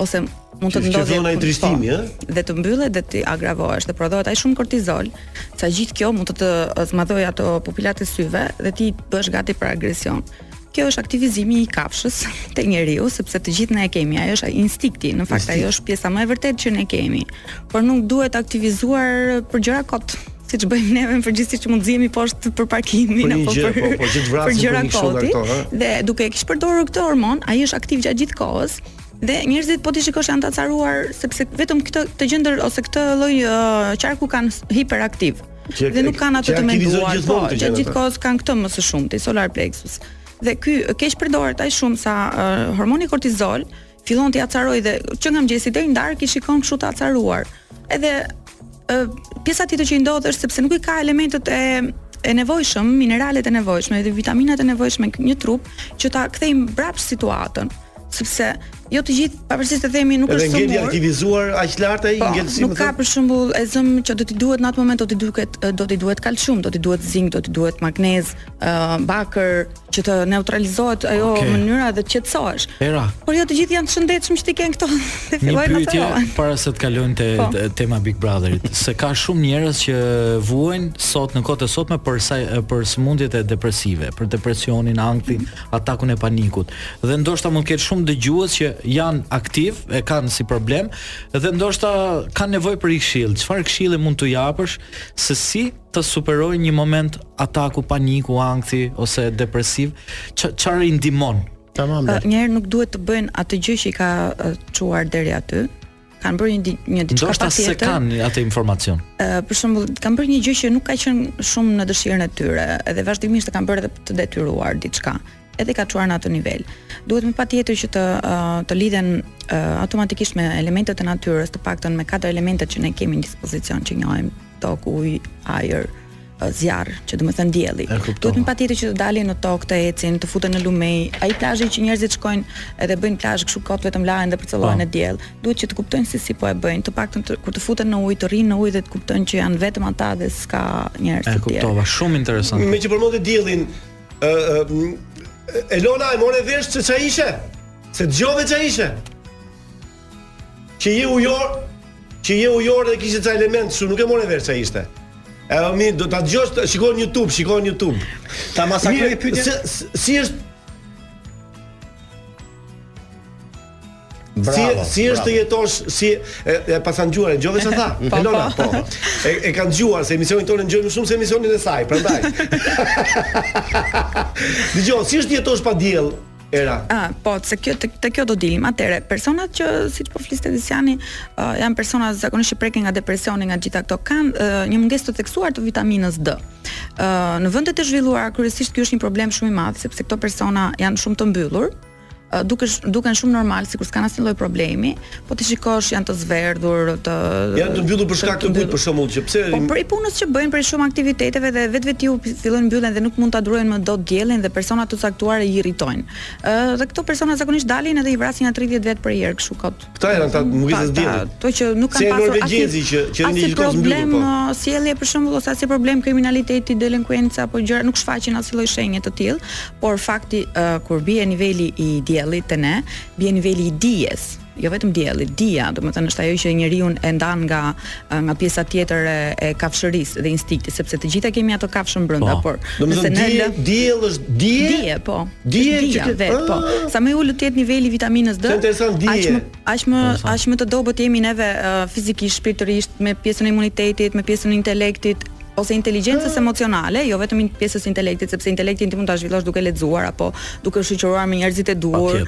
ose mund të të ndodhë
ai trishtimi, ë?
Dhe të mbyllet dhe të agravohesh dhe prodhohet ai shumë kortizol, sa gjithë kjo mund të të zmadhojë ato pupilat e syve dhe ti bësh gati për agresion. Kjo është aktivizimi i kafshës te njeriu, sepse të gjithë ne e kemi, ajo është instinkti, në fakt Instinkt. ajo është pjesa më e vërtetë që ne kemi, por nuk duhet aktivizuar për gjëra kot siç bëjmë neve në përgjithësi që mund zihemi poshtë për parkimin
apo për po, po, që të vrasim për gjëra koti.
Dhe duke e kish përdorur këtë hormon, ai është aktiv gjatë gjithë kohës, Dhe njerëzit po ti shikosh janë të acaruar sepse vetëm këtë këtë gjendër ose këtë lloj uh, qarku kanë hiperaktiv. Që, dhe nuk kanë ato të menduar, po, që gjithkohës kanë këtë më së shumti, solar plexus. Dhe ky keq përdoret aq shumë sa uh, hormoni kortizol fillon të acaroj dhe që nga mëngjesi deri në darkë i shikon kështu të acaruar. Edhe uh, pjesa tjetër që i ndodh është sepse nuk i ka elementet e e nevojshëm, mineralet e nevojshme dhe vitaminat e nevojshme një trup që ta kthejmë brapsht situatën sepse jo të gjithë pavarësisht të themi nuk
Edhe
është sumur.
Edhe ngeli aktivizuar aq lart ai ngelësi.
Po, Nuk ka për shembull e zëm që do t'i duhet në atë moment do t'i duket do t'i duhet kalcium, do t'i duhet zink, do t'i duhet magnez, uh, bakër që të neutralizohet ajo okay. mënyra dhe të qetësohesh. Por jo të gjithë janë të shëndetshëm që ti kanë këto. Dhe
ato.
fillojnë
Një pyetje para se të kalojmë te po. tema Big Brotherit, se ka shumë njerëz që vuajnë sot në kohët e sotme për sa për sëmundjet e depresive, për depresionin, anktin, atakun e panikut. Dhe ndoshta mund të ketë shumë dëgjues që janë aktiv, e kanë si problem dhe ndoshta kanë nevojë për këshill. Çfarë këshille mund t'u japësh se si të superojnë një moment ataku paniku, ankthi ose depresiv? Çfarë i ndihmon?
Tamam.
Një herë nuk duhet të bëjnë atë gjë që i ka çuar deri aty, kanë bërë një një diçka
patjetër. Ndoshta se kanë atë informacion.
Ë për shembull, kanë bërë një gjë që nuk ka qenë shumë në dëshirën e tyre, edhe vazhdimisht e kanë bërë edhe të detyruar diçka edhe ka çuar në atë nivel. Duhet me patjetër që të uh, të lidhen uh, automatikisht me elementet e natyrës, të paktën me katër elementet që ne kemi në dispozicion që njohim: tokë, ujë, ajër, uh, zjarr, që do të thënë dielli. Duhet me patjetër që të dalin në tokë, të ecin, të futen në lumej, ai plazhi që njerëzit shkojnë edhe bëjnë plazh kështu kot vetëm lahen dhe
Po.
përcëllohen në diell. Duhet që të kuptojnë se si, si po e bëjnë, të paktën kur të futen në ujë, të rinë në ujë dhe të kuptojnë që janë vetëm ata dhe s'ka njerëz të tjerë.
E kuptova, shumë interesant.
Me që përmendë diellin, ë uh, uh, Elona e more vesh se ç'a ishe? Se dëgjove ç'a ishe? Që je ujor, që je ujor dhe kishte ca element, shumë nuk e more vesh ç'a ishte. E mi do ta dëgjosh, shikon YouTube, shikon YouTube.
Ta masakroj pyetjen.
Si, si është Bravo, si si është të jetosh si e, e pasan dëgjuar, dëgjove çfarë tha?
po,
Elona, po. E, e kanë dëgjuar se emisionin tonë ngjojmë shumë se emisionin e saj, prandaj. Dgjoj, si është të jetosh pa diell? era.
Ah, po, se kjo te, te kjo do dilim. Atëre, personat që siç po fliste Disiani, uh, janë persona zakonisht që prekin nga depresioni, nga gjitha këto kanë uh, një mungesë të theksuar të vitaminës D. Uh, në vendet e zhvilluara kryesisht ky është një problem shumë i madh sepse këto persona janë shumë të mbyllur, duke duken shumë normal sikur s'kan asnjë lloj problemi, po ti shikosh janë të zverdhur, të
janë të mbyllur për shkak të kujt për shembull që pse
po për i punës që bëjnë për shumë aktiviteteve dhe vetvetiu fillojnë mbyllen dhe nuk mund ta druajnë më dot diellin dhe persona të caktuar i irritojnë. Ë dhe këto persona zakonisht dalin edhe i vrasin nga 30 vjet për herë kështu kot.
Këta janë ata mugesës diellit.
Ato që nuk kanë pasur asnjë që që një gjë
po.
problem sjellje për shembull ose asnjë problem kriminaliteti, delinkuenca apo gjëra nuk shfaqin asnjë lloj shenje të tillë, por fakti kur bie niveli i diellit diellit te ne bie niveli i dijes jo vetëm dielli, dia, domethënë është ajo që njeriu e ndan nga nga pjesa tjetër e, e kafshërisë dhe instiktit, sepse të gjitha kemi ato kafshën brenda, po. por
nëse ne lë diell është dije,
dije, po.
Dije Ah.
që ti vet, po. Sa më ulët të jetë niveli i vitaminës D,
aq
më aq më aq më të dobët jemi neve uh, fizikisht, shpirtërisht, me pjesën e imunitetit, me pjesën e intelektit, ose inteligjencës
Ah.
emocionale, jo vetëm pjesës intelektit, sepse intelektin ti mund ta zhvillosh duke lexuar apo duke shoqëruar me njerëzit e duhur.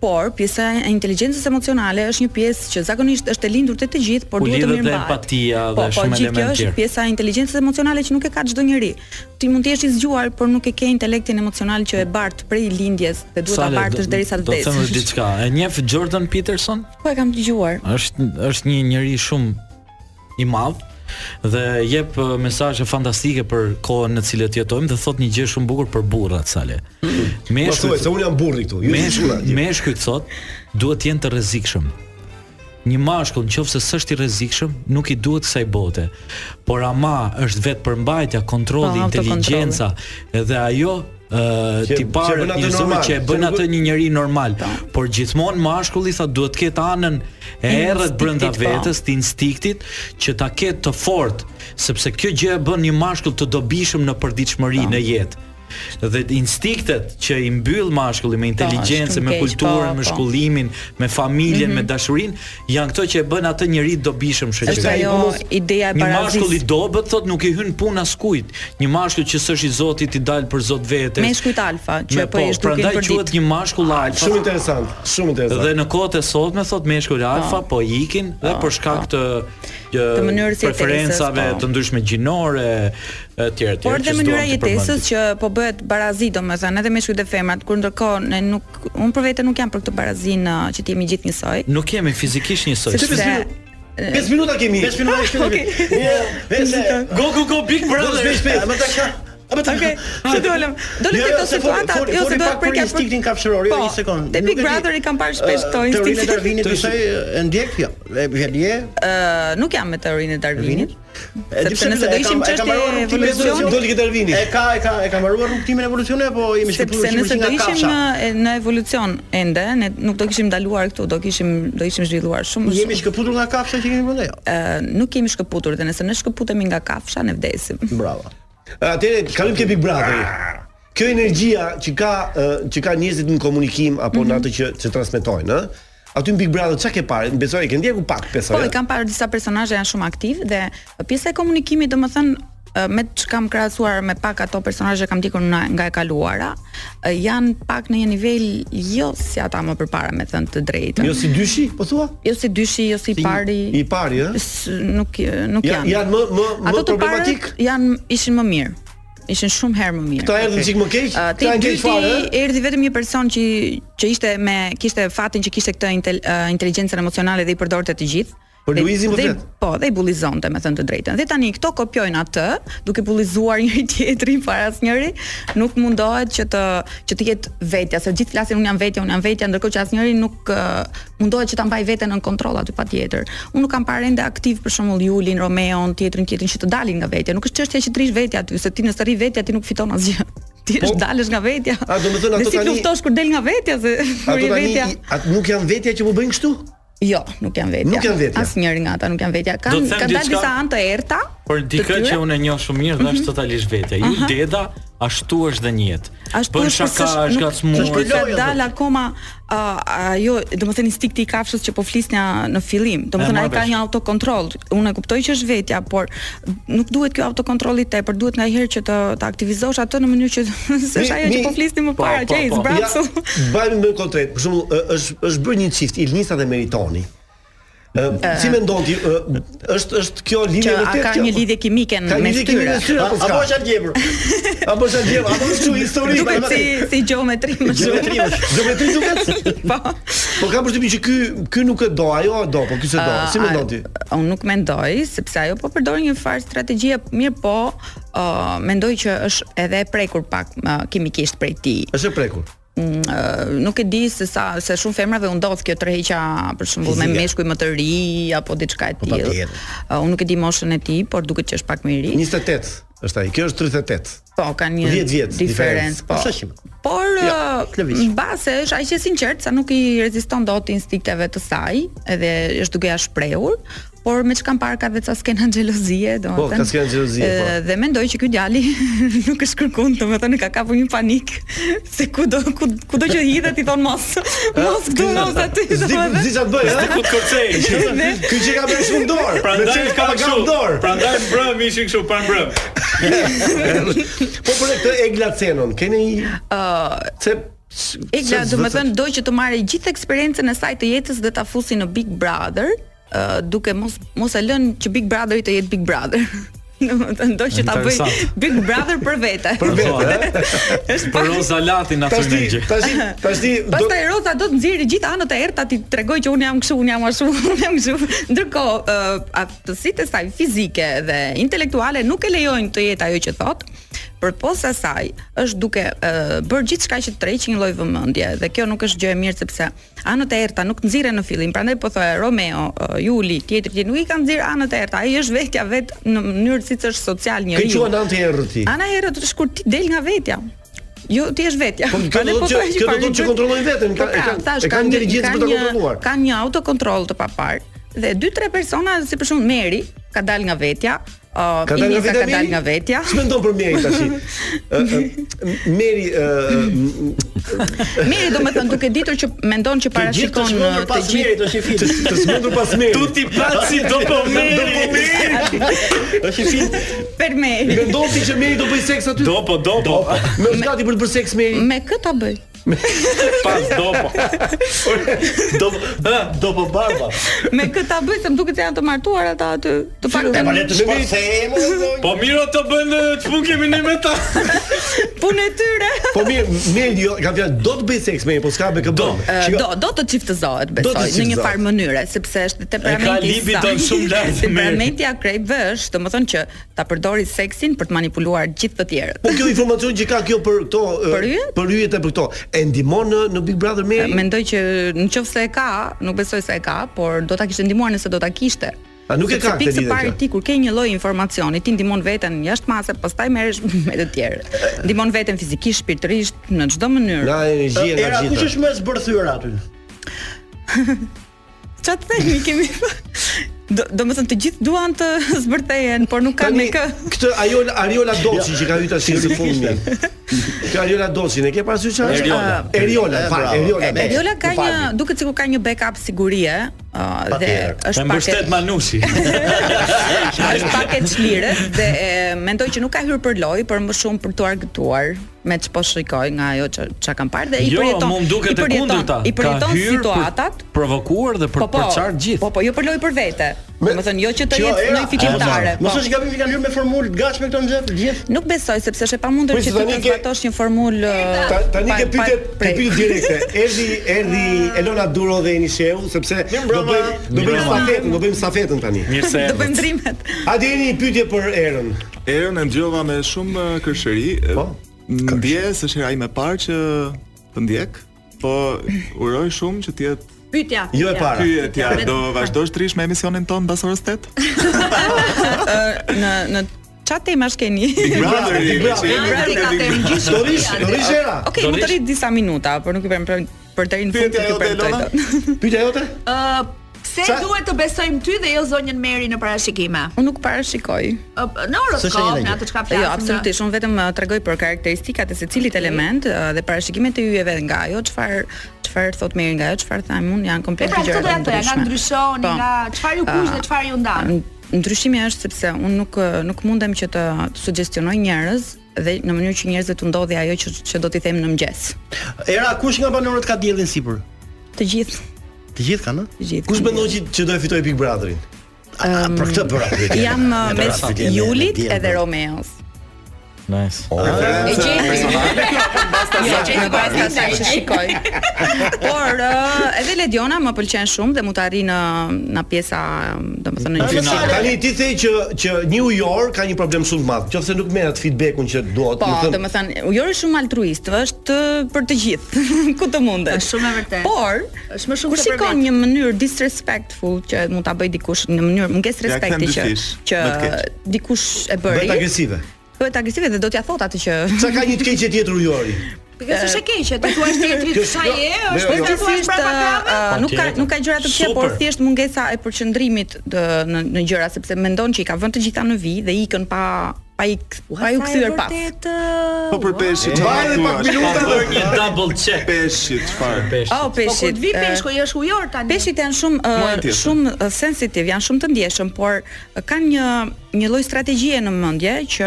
Por pjesa e inteligjencës emocionale është një pjesë që zakonisht është e lindur te të, të gjithë, por duhet të mirëmbahet.
Po, empatia dhe
po,
shumë elementë tjerë. Po,
kjo është pjesa e inteligjencës emocionale që nuk e ka çdo njeri. Ti mund të jesh i zgjuar, por nuk e ke intelektin emocional që e bart prej lindjes dhe duhet ta bartësh derisa të vdesësh.
Do të them diçka. E njeh Jordan Peterson?
Po e kam dëgjuar.
Është është një njerëz shumë i madh dhe jep mesazhe fantastike për kohën në cilën jetojmë dhe thot një gjë shumë bukur për burrat sale.
Mm. Meshkujt, thuaj se un jam burri këtu.
Meshkujt, meshkujt thot duhet të jenë të rrezikshëm. Një mashkull nëse s'është i rrezikshëm, nuk i duhet kësaj bote. Por ama është vetë përmbajtja, kontrolli, inteligjenca dhe ajo Uh, tipar njerëzore që e bën atë një njerëz normal, ta. por gjithmonë mashkulli tha duhet të ketë anën e errët brenda vetes, të instiktit që ta ketë të fortë, sepse kjo gjë e bën një mashkull të dobishëm në përditshmëri në jetë. Dhe instiktet që i mbyll mashkulli me inteligjencën, me
po,
kulturën, me shkollimin, me familjen, mm -hmm. me dashurinë, janë këto që e bën atë njerëz dobishëm shoqërisë.
Mhm. Është ajo ideja e
parazisë. Një mashkull i dobët thotë nuk i hyn punë askujt. Një mashkull që s'është i Zotit i dal për Zot vetes.
Meshkujt alfa që po i Ah, duken
për ditë. quhet një mashkull alfa.
Shumë interesant, shumë interesant.
Dhe në kohët e sotme thot meshkull alfa po ikin dhe për shkak të
po. të mënyrës po.
preferencave të ndryshme gjinore etj etj.
Por dhe mënyra jetesës që po bëhet barazi domethënë edhe me shkujt e femrat kur ndërkohë ne nuk un për vete nuk jam për këtë barazinë që të jemi gjithë njësoj.
Nuk jemi fizikisht njësoj.
Sepse 5 minuta kemi.
5 minuta kemi. Okej.
Vese.
Go go go Big Brother.
Më ta
Apo ta ke. Ço dolëm. Dolëm këto situata, jo se do të
për instiktin kafshëror,
po,
jo një sekond.
Te Po, Big Brother i kam parë shpesh këto
instiktin. Uh, Teorinë e Darwinit besoj e ndjek jo. E ndje?
Ë, Uh, nuk jam me teorinë e Darwinit.
Sepse nëse do ishim çështje evolucioni, doli ke Darwini.
E ka e ka e ka mbaruar rrugtimin evolucionar apo jemi
shpëtuar shumë nga kafsha. Sepse nëse do ishim uh, në evolucion ende, ne nuk do kishim ndaluar këtu, do kishim do ishim zhvilluar shumë
më shumë. Jemi shkëputur nga kafsha që kemi brenda jo.
Ë, nuk jemi shkëputur dhe nëse ne shkëputemi nga kafsha, ne vdesim.
Bravo. Eh, Atëherë kalim ke Big Brother. Kjo energjia që ka eh, që ka njerëzit në komunikim apo mm
Mhm.
-hmm. në atë që që transmetojnë, ëh. Aty në Big Brother çka ke parë? Besoj e ke ndjeku pak besoj. eh?
Po, e kam parë disa personazhe janë shumë aktiv dhe pjesa e komunikimit domethënë me që kam krahasuar me pak ato personazhe kam dikur nga, nga e kaluara, janë pak në një nivel jo si ata më përpara me thënë të drejtën.
Jo si dyshi, po thua?
Jo si dyshi, jo si, si pari.
I pari, eh? ëh?
Nuk nuk janë.
Janë më më më ato problematik.
Janë ishin më mirë ishin shumë herë më mirë.
Këta erdhën okay. çik më keq.
Uh, Te dyti fare, erdhi vetëm një person që që ishte me kishte fatin që kishte këtë intel, uh, inteligjencën emocionale dhe i përdorte të gjithë.
Por Luizi më
vjet. Po, dhe i bullizonte, me thënë të drejtën. Dhe tani këto kopjojnë atë, duke bullizuar njëri tjetrin para asnjëri, nuk mundohet që të që të jetë vetja, se gjithë flasin un jam vetja, un jam vetja, ndërkohë që asnjëri nuk uh, mundohet që ta mbaj veten në kontroll aty patjetër. Unë nuk kam parë ende aktiv për shembull Julin, Romeon, tjetrin, tjetrin që të dalin nga vetja. Nuk është çështja që të rish vetja aty, se ti nëse rri vetja ti nuk fiton asgjë ti po, dalësh nga vetja.
A do të thonë ato
tani? Si luftosh kur del nga vetja se
kur je vetja? Ato nuk janë vetja që po bëjnë kështu?
Jo, nuk janë vetja.
Nuk janë vetja.
Asnjëri nga ata nuk janë vetja. Kan kanë dalë disa anë të Mhm. errta.
Por dikë që unë e njoh shumë mirë, mm -hmm. është totalisht vetja. Ju Deda Ashtu është dhe një jetë.
Ashtu
Bën
është
shaka, është gacmuar.
Nuk ka dal akoma uh, ajo, domethënë instikti i kafshës që po flisnja në fillim. Domethënë ai ka
marrësh.
një autokontroll. Unë e kuptoj që është vetja, por nuk duhet kjo autokontrolli i tepër, duhet ndajherë që të të aktivizosh atë në mënyrë që se është ajo që po flisnim më para, që i zbrapsu.
Bëjmë më konkret. Për shembull, ë, është është bërë një çift Ilnisa dhe Meritoni. Ë,
Ë.
si mendon ti, ë, është është kjo
Që
lidhje
a
vërtet?
ka
kjo?
një lidhje kimike
Ka
në
një
mes
lidhje kimike
tyre.
mes tyre, apo s'ka? algebër. Apo është algebra, apo është kështu histori.
Duket si si gjeometri më shumë.
Gjeometri, gjeometri duket?
Po.
Po kam përshtypjen që ky ky nuk e do, ajo e do, po ky s'e do.
A,
Si mendon
a-
ti?
Unë nuk mendoj, sepse ajo po përdor një farë strategjie, mirë po, uh, mendoj që është edhe e prekur pak uh, kimikisht prej ti.
Është e prekur.
Mm, ë, nuk e di se sa se shumë femrave u ndodh kjo tërheqja për shembull me
Fizike.
meshkuj më të ri apo diçka e tillë.
patjetër.
Ë, unë nuk e di moshën e tij, por duket që është pak më i ri.
28 është ai. Kjo është 38.
Po, ka një
10 vjet
diferencë, po.
Sa që-
Por
Ja,
ja, në base është aq e sinqert sa nuk i reziston dot instinkteve të saj, edhe është duke ja shprehur, por me çka parë ka vetë sa skena xhelozie,
Po, ka
domethënë.
s'ka xhelozie, po.
Ë, Dhe mendoj që ky djali nuk është kërkun, domethënë ka kapur një panik se kudo ku- kudo që hidhet i thon mos. Mos këtu mos aty.
Zdi-
domethënë.
zdi çfarë bëj, ha? Zdi ku të kërcej.
Ne-
Ky që ka bërë shumë dorë.
Prandaj
Me çfarë
ka
ka
kështu.
dorë.
Prandaj mbrëm ishin kështu pa mbrëm.
po për këtë Eglacenon, keni një se s-
Egla,
se-
do të thënë do që të marrë gjithë eksperiencën e saj të jetës dhe ta fusi në Big Brother, ë, duke mos mos e lënë që Big Brotheri të jetë Big Brother. Do të thënë do që ta bëj
Interesant.
Big Brother për vete.
Për vete. Është për Roza Latin aty
Tash
në
ti,
gjë.
tash ti, tash ti do
Pastaj Roza do të nxjerrë gjithë anët e errta ti tregoj që unë jam kështu, unë jam ashtu, unë jam kështu. Ndërkohë, ë, aftësitë e saj fizike dhe intelektuale nuk e lejojnë të jetë ajo që thotë. Përposa saj është duke ë, bërë gjithçka që të tërheqë një lloj vëmendje dhe kjo nuk është gjë e mirë sepse anët e errta nuk nxirren në fillim. Prandaj po thoya Romeo, ë, Juli, tjetri që nuk i kanë nxirë anët e errta. Ai është vetja vet në mënyrë siç është social
Kë
njeriu.
quan anti errët ti?
Ana e errët është kur ti del nga vetja. Jo, ti je vetja.
Po, kjo do
Prandaj
thotë
po
që-
thoya
kjo do
parë
thotë që
gjë-
kontrollojnë veten,
Po
ka- e kanë-
thash,
e kanë inteligjencë për ta
një-
kontrolluar.
Kanë një autokontroll të papar dhe dy tre persona si për shembull Meri ka dal nga vetja, uh,
Ka dalë nga
Inisa
vetja.
ka dal nga vetja.
Ç'mendon për Meri tash? Meri ë
Meri domethënë duke ditur që mendon që parashikon uh, të gjithë
Merit është i film. Të smendur pas Merit.
Tutti pazzi dopo Meri.
Dopo po Meri. Është i film.
për Meri.
Mendon ti që Meri do bëj seks aty?
Dopo, dopo.
Më është Po, gati për të bërë seks Meri.
Me kë ta bëj?
Pas dopo.
Dopo, dopo barba.
Me kë ta bëj se më duket se janë të martuar ata aty. Të paktën
Po miro të bën të pun kemi ne me ta.
punë e tyre.
Po mirë, Meri jo, kam fjalë do të bëj seks Meri, po s'ka me kë bën.
Ë,
Shiko,
Do do të çiftëzohet
Do të
besoj në një
çiftëzohet.
farë mënyrë sepse është temperamenti i
libidon
saj.
shumë lart, Meri.
Temperamenti i akrejve është, domethënë që ta përdori seksin për të manipuluar gjithë të tjerët.
Po kjo informacion që ka kjo për këto ë,
Për yjet?
për yjet e për këto. E ndihmon në, në Big Brother Meri?
Mendoj që në qoftë se e ka, nuk besoj se e ka, por do ta kishte ndihmuar nëse do ta kishte.
A, nuk e ka këtë
këtë
lidhje
lidhje. Pari
kjo?
ti kur ke një lloj informacioni, ti ndihmon veten jashtë mase, pastaj merresh me të tjerë. Ndihmon veten fizikisht, shpirtërisht, në çdo mënyrë.
Nga energjia nga
Era
gjitha.
kush është më e zbërthyer aty?
Çfarë të themi kemi Do, do më thënë të gjithë duan të zbërthehen, por nuk kanë me
Tani,
kë.
Këtë Ariola Ariola Doçi që ka hyrë tash në fund. mirë. Kjo Ariola Doçi, ne ke parasysh çfarë? është?
Eriola.
Ah, Eriola,
Eh,
fal,
bravo.
Eriola.
Eh,
Eriola ka
Më falni.
një, duket sikur ka një backup sigurie, ë, dhe
Patjetër.
E
është pak e
mbështet Manushi.
është pak e çlirës dhe e, mendoj që nuk ka hyrë për lojë, por më shumë për të argëtuar me ç'po shikoj nga ajo që çka kam parë dhe i
Jo,
përjeton.
mu më duket
i
e
përjeton-
kundërta.
I përjeton situatat.
Për provokuar dhe për po, për çart gjithë.
Po po, jo për lojë për vete. Domethënë jo që të
Kjo
jetë
era-
në fitimtare.
Mos është gabim që kanë hyrë me formulë gatshme këto nxehtë gjithë.
Nuk besoj sepse është e pamundur
Po,
që
se
ti
tani
të
ke-
zbatosh një formulë
Ta- Tani
pa-
ke
pa-
pyetje, ke
prej.
pyetje direkte. Erdhi erdhi
Ah.
Elona Duro dhe Eni Sheu sepse do bëjmë do bëjmë stafetën, do bëjmë stafetën tani.
Mirë se.
Do bëjmë ndrimet.
A jeni një pyetje për Erën?
Erën e ndjova me shumë eh, kërshëri. Po. Ndje se shera ime parë që të ndjek, po uroj shumë që të jetë
Pyetja.
Jo e para.
pyetja. Do vazhdosh të rish me emisionin ton mbas orës 8?
Ë, në në çfarë temash keni?
Big Brother, Big Brother.
Big Brother ka temë gjithë.
Do rish, do rish era.
Okej, mund të rrit disa minuta, por nuk i vjen për për deri në fund
Pyetja
të
jote,
përmendoj.
Elona?
Pyetja jote?
Ë Pse duhet të besojmë ty dhe jo zonjën Meri në parashikime?
Unë nuk parashikoj.
Në horoskop, në atë çka flasim.
Jo, absolutisht, unë vetëm uh, tregoj për karakteristikat e secilit element uh, dhe parashikimet e yjeve nga ajo, çfarë çfarë thot Meri nga ajo, çfarë tham unë, janë
E
komplet
pra
gjëra Po.
këto do ja thoya, nga ndryshoni, nga çfarë ju kuq dhe çfarë ju ndan.
Uh, Ndryshimi është sepse unë nuk uh, nuk mundem që të të sugjestionoj njerëz dhe në mënyrë që njerëzit të ndodhi ajo që, që do t'i them në mëngjes.
Era kush nga banorët ka diellin sipër?
Të gjithë.
Të gjithë kanë?
Të gjithë.
Kush mendon që që do e fitoj Big Brotherin?
Um,
Pra
Për këtë për atë.
Jam uh,
Për
mes
atë.
Julit edhe Romeos.
Nice.
E
Jo,
gjej basta sa që shikoj. Por ë, edhe Lediona më pëlqen shumë dhe mund të arri në në pjesa, um, domethënë në gjysmë.
Tani ti the që që një ujor ka një problem shumë të madh, qofse nuk merret feedbackun që duhet,
Po,
do të
do
thënë.
të thënë, ujori është shumë altruist, është uh, për të gjithë, ku të mundet.
Është shumë e vërtetë.
Por,
është më shumë
kur
se për
shikon
vetë.
një mënyrë disrespectful që mund ta bëj dikush në mënyrë mungesë
Ja
respekti
kthem
që
dyfish,
që
bëhet keq.
dikush e bëri.
Bëhet agresive.
Bëhet agresive dhe do t'ja thot atë që
Sa ka një të keqe tjetër ujori?
Kjo është e keqe, ti thua tjetrit
Kjo-
sa je,
jo,
është
jo,
për
jo.
të thënë brapa
ë,
teave.
nuk ka
Patjetër.
nuk ka gjëra të këqija, por
Super.
thjesht mungesa e përqendrimit dë- në në gjëra sepse mendon që i ka vënë të gjitha në vi dhe ikën pa pa i pa ju kthyer pas.
Po për peshqit.
Wow. Mbajnë pak minuta
dhe
dhe-
një double check. Peshqit çfarë?
Oh, peshqit.
Po kur të vi
eh,
peshku, i është ujor tani.
Peshqit janë shumë eh,
Muajin tjetër.
shumë eh, sensitiv, janë shumë të ndjeshëm, por eh, kanë një një lloj strategjie në mendje që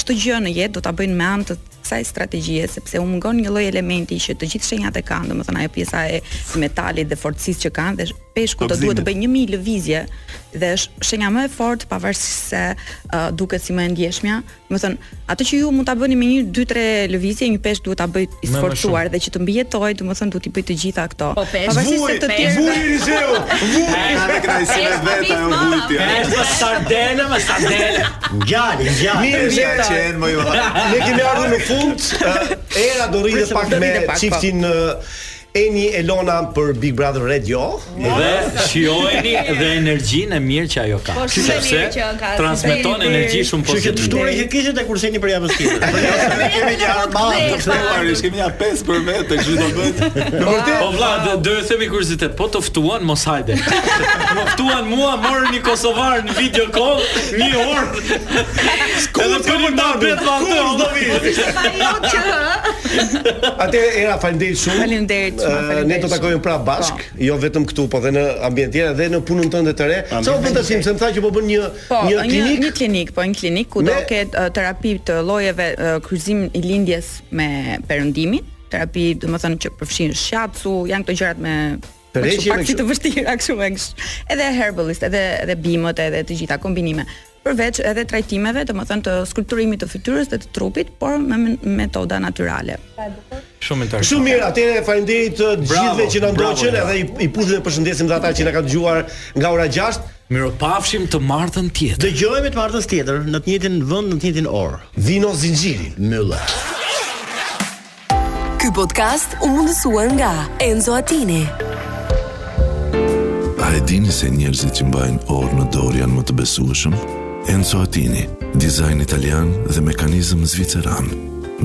çdo gjë në jetë do ta bëjnë me anë të kësaj strategjie sepse u mungon një lloj elementi që të gjithë shenjat e kanë, domethënë ajo pjesa e metalit dhe fortësisë që kanë dhe peshku do duhet të
Dobëzimit.
bëjë 1000 lëvizje dhe është shenja më e fortë pavarësisht se uh, duket si më e ndjeshmja. Domethënë ato që ju mund ta bëni me një 2-3 lëvizje, një peshk duhet ta bëjë i
Me më
sforcuar dhe që të mbijetoj, domethënë duhet i bëj të gjitha këto.
Po peshk.
Pavarësisht se të tjerë
Është sardele, më sardele.
Ngjali, ngjali.
Mirë, mirë që janë më ju. Ne kemi ardhur në fund. eh, Era do rritet
Prisëm,
pak
do
me
rritet pak, po.
çiftin eh, Eni Elona për Big Brother Radio.
Dhe shijojeni dhe energjinë e mirë që ajo ka.
Po, shumë e mirë që ka,
transmeton
super.
energji shumë
Kështu që të ftuar
pozitive.
që kishe te kurseni për javën tjetër.
Kemi një armadë, Marish, kemi një pesë për vetë, kështu do bëhet.
Në vërtet. Po vlla, do do të themi kuriozitet, po të ftuan mos hajde. Po ftuan mua, morën një kosovar në video call, një orë. Edhe kemi ta bet me atë.
Kur do vi? Atë era faleminderit shumë.
Faleminderit shumë,
Eh, Ne do
faleminderit
takojmë prapë bashk, jo vetëm këtu, po dhe në ambient tjetër dhe në punën tënde të re. Sa u bën tasim, se më tha që po bën një
Po,
një klinik.
një klinik, po një klinik ku do
Me-
ketë uh, terapi të llojeve uh, kryqëzim i lindjes me perëndimin, terapi domethënë që përfshin shiatsu, janë këto gjërat me me
Tërheqje
kështu
me
pak si
kështu.
të vështira kështu me kështu. Edhe herbalist, edhe edhe bimët, edhe të gjitha kombinime. Përveç edhe trajtimeve, domethënë të skulpturimit të fytyrës dhe të trupit, por me me metoda natyrale.
Shumë interesant.
Shumë mirë, atëherë faleminderit të gjithëve që na
bravo,
ndoqën
bravo.
edhe i, i puthim dhe përshëndesim dhe ata që na kanë dëgjuar nga ora 6.
Miropafshim të martën tjetër.
Dëgjojmë të martën tjetër në të njëjtin vend, në të njëjtin orë.
Vino zinxhirin.
Mylla.
Ky podcast u mundësua nga Enzo Attini.
A e dini se njerëzit që mbajnë orë në dorë janë më të besueshëm? Enzo Attini, dizajn italian dhe mekanizëm zviceran.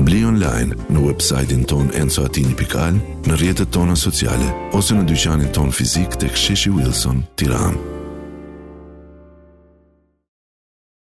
Bli online në websajtin ton enzoatini.al, në rrjetet tona sociale ose në dyqanin ton fizik tek Sheshi Wilson, Tiranë.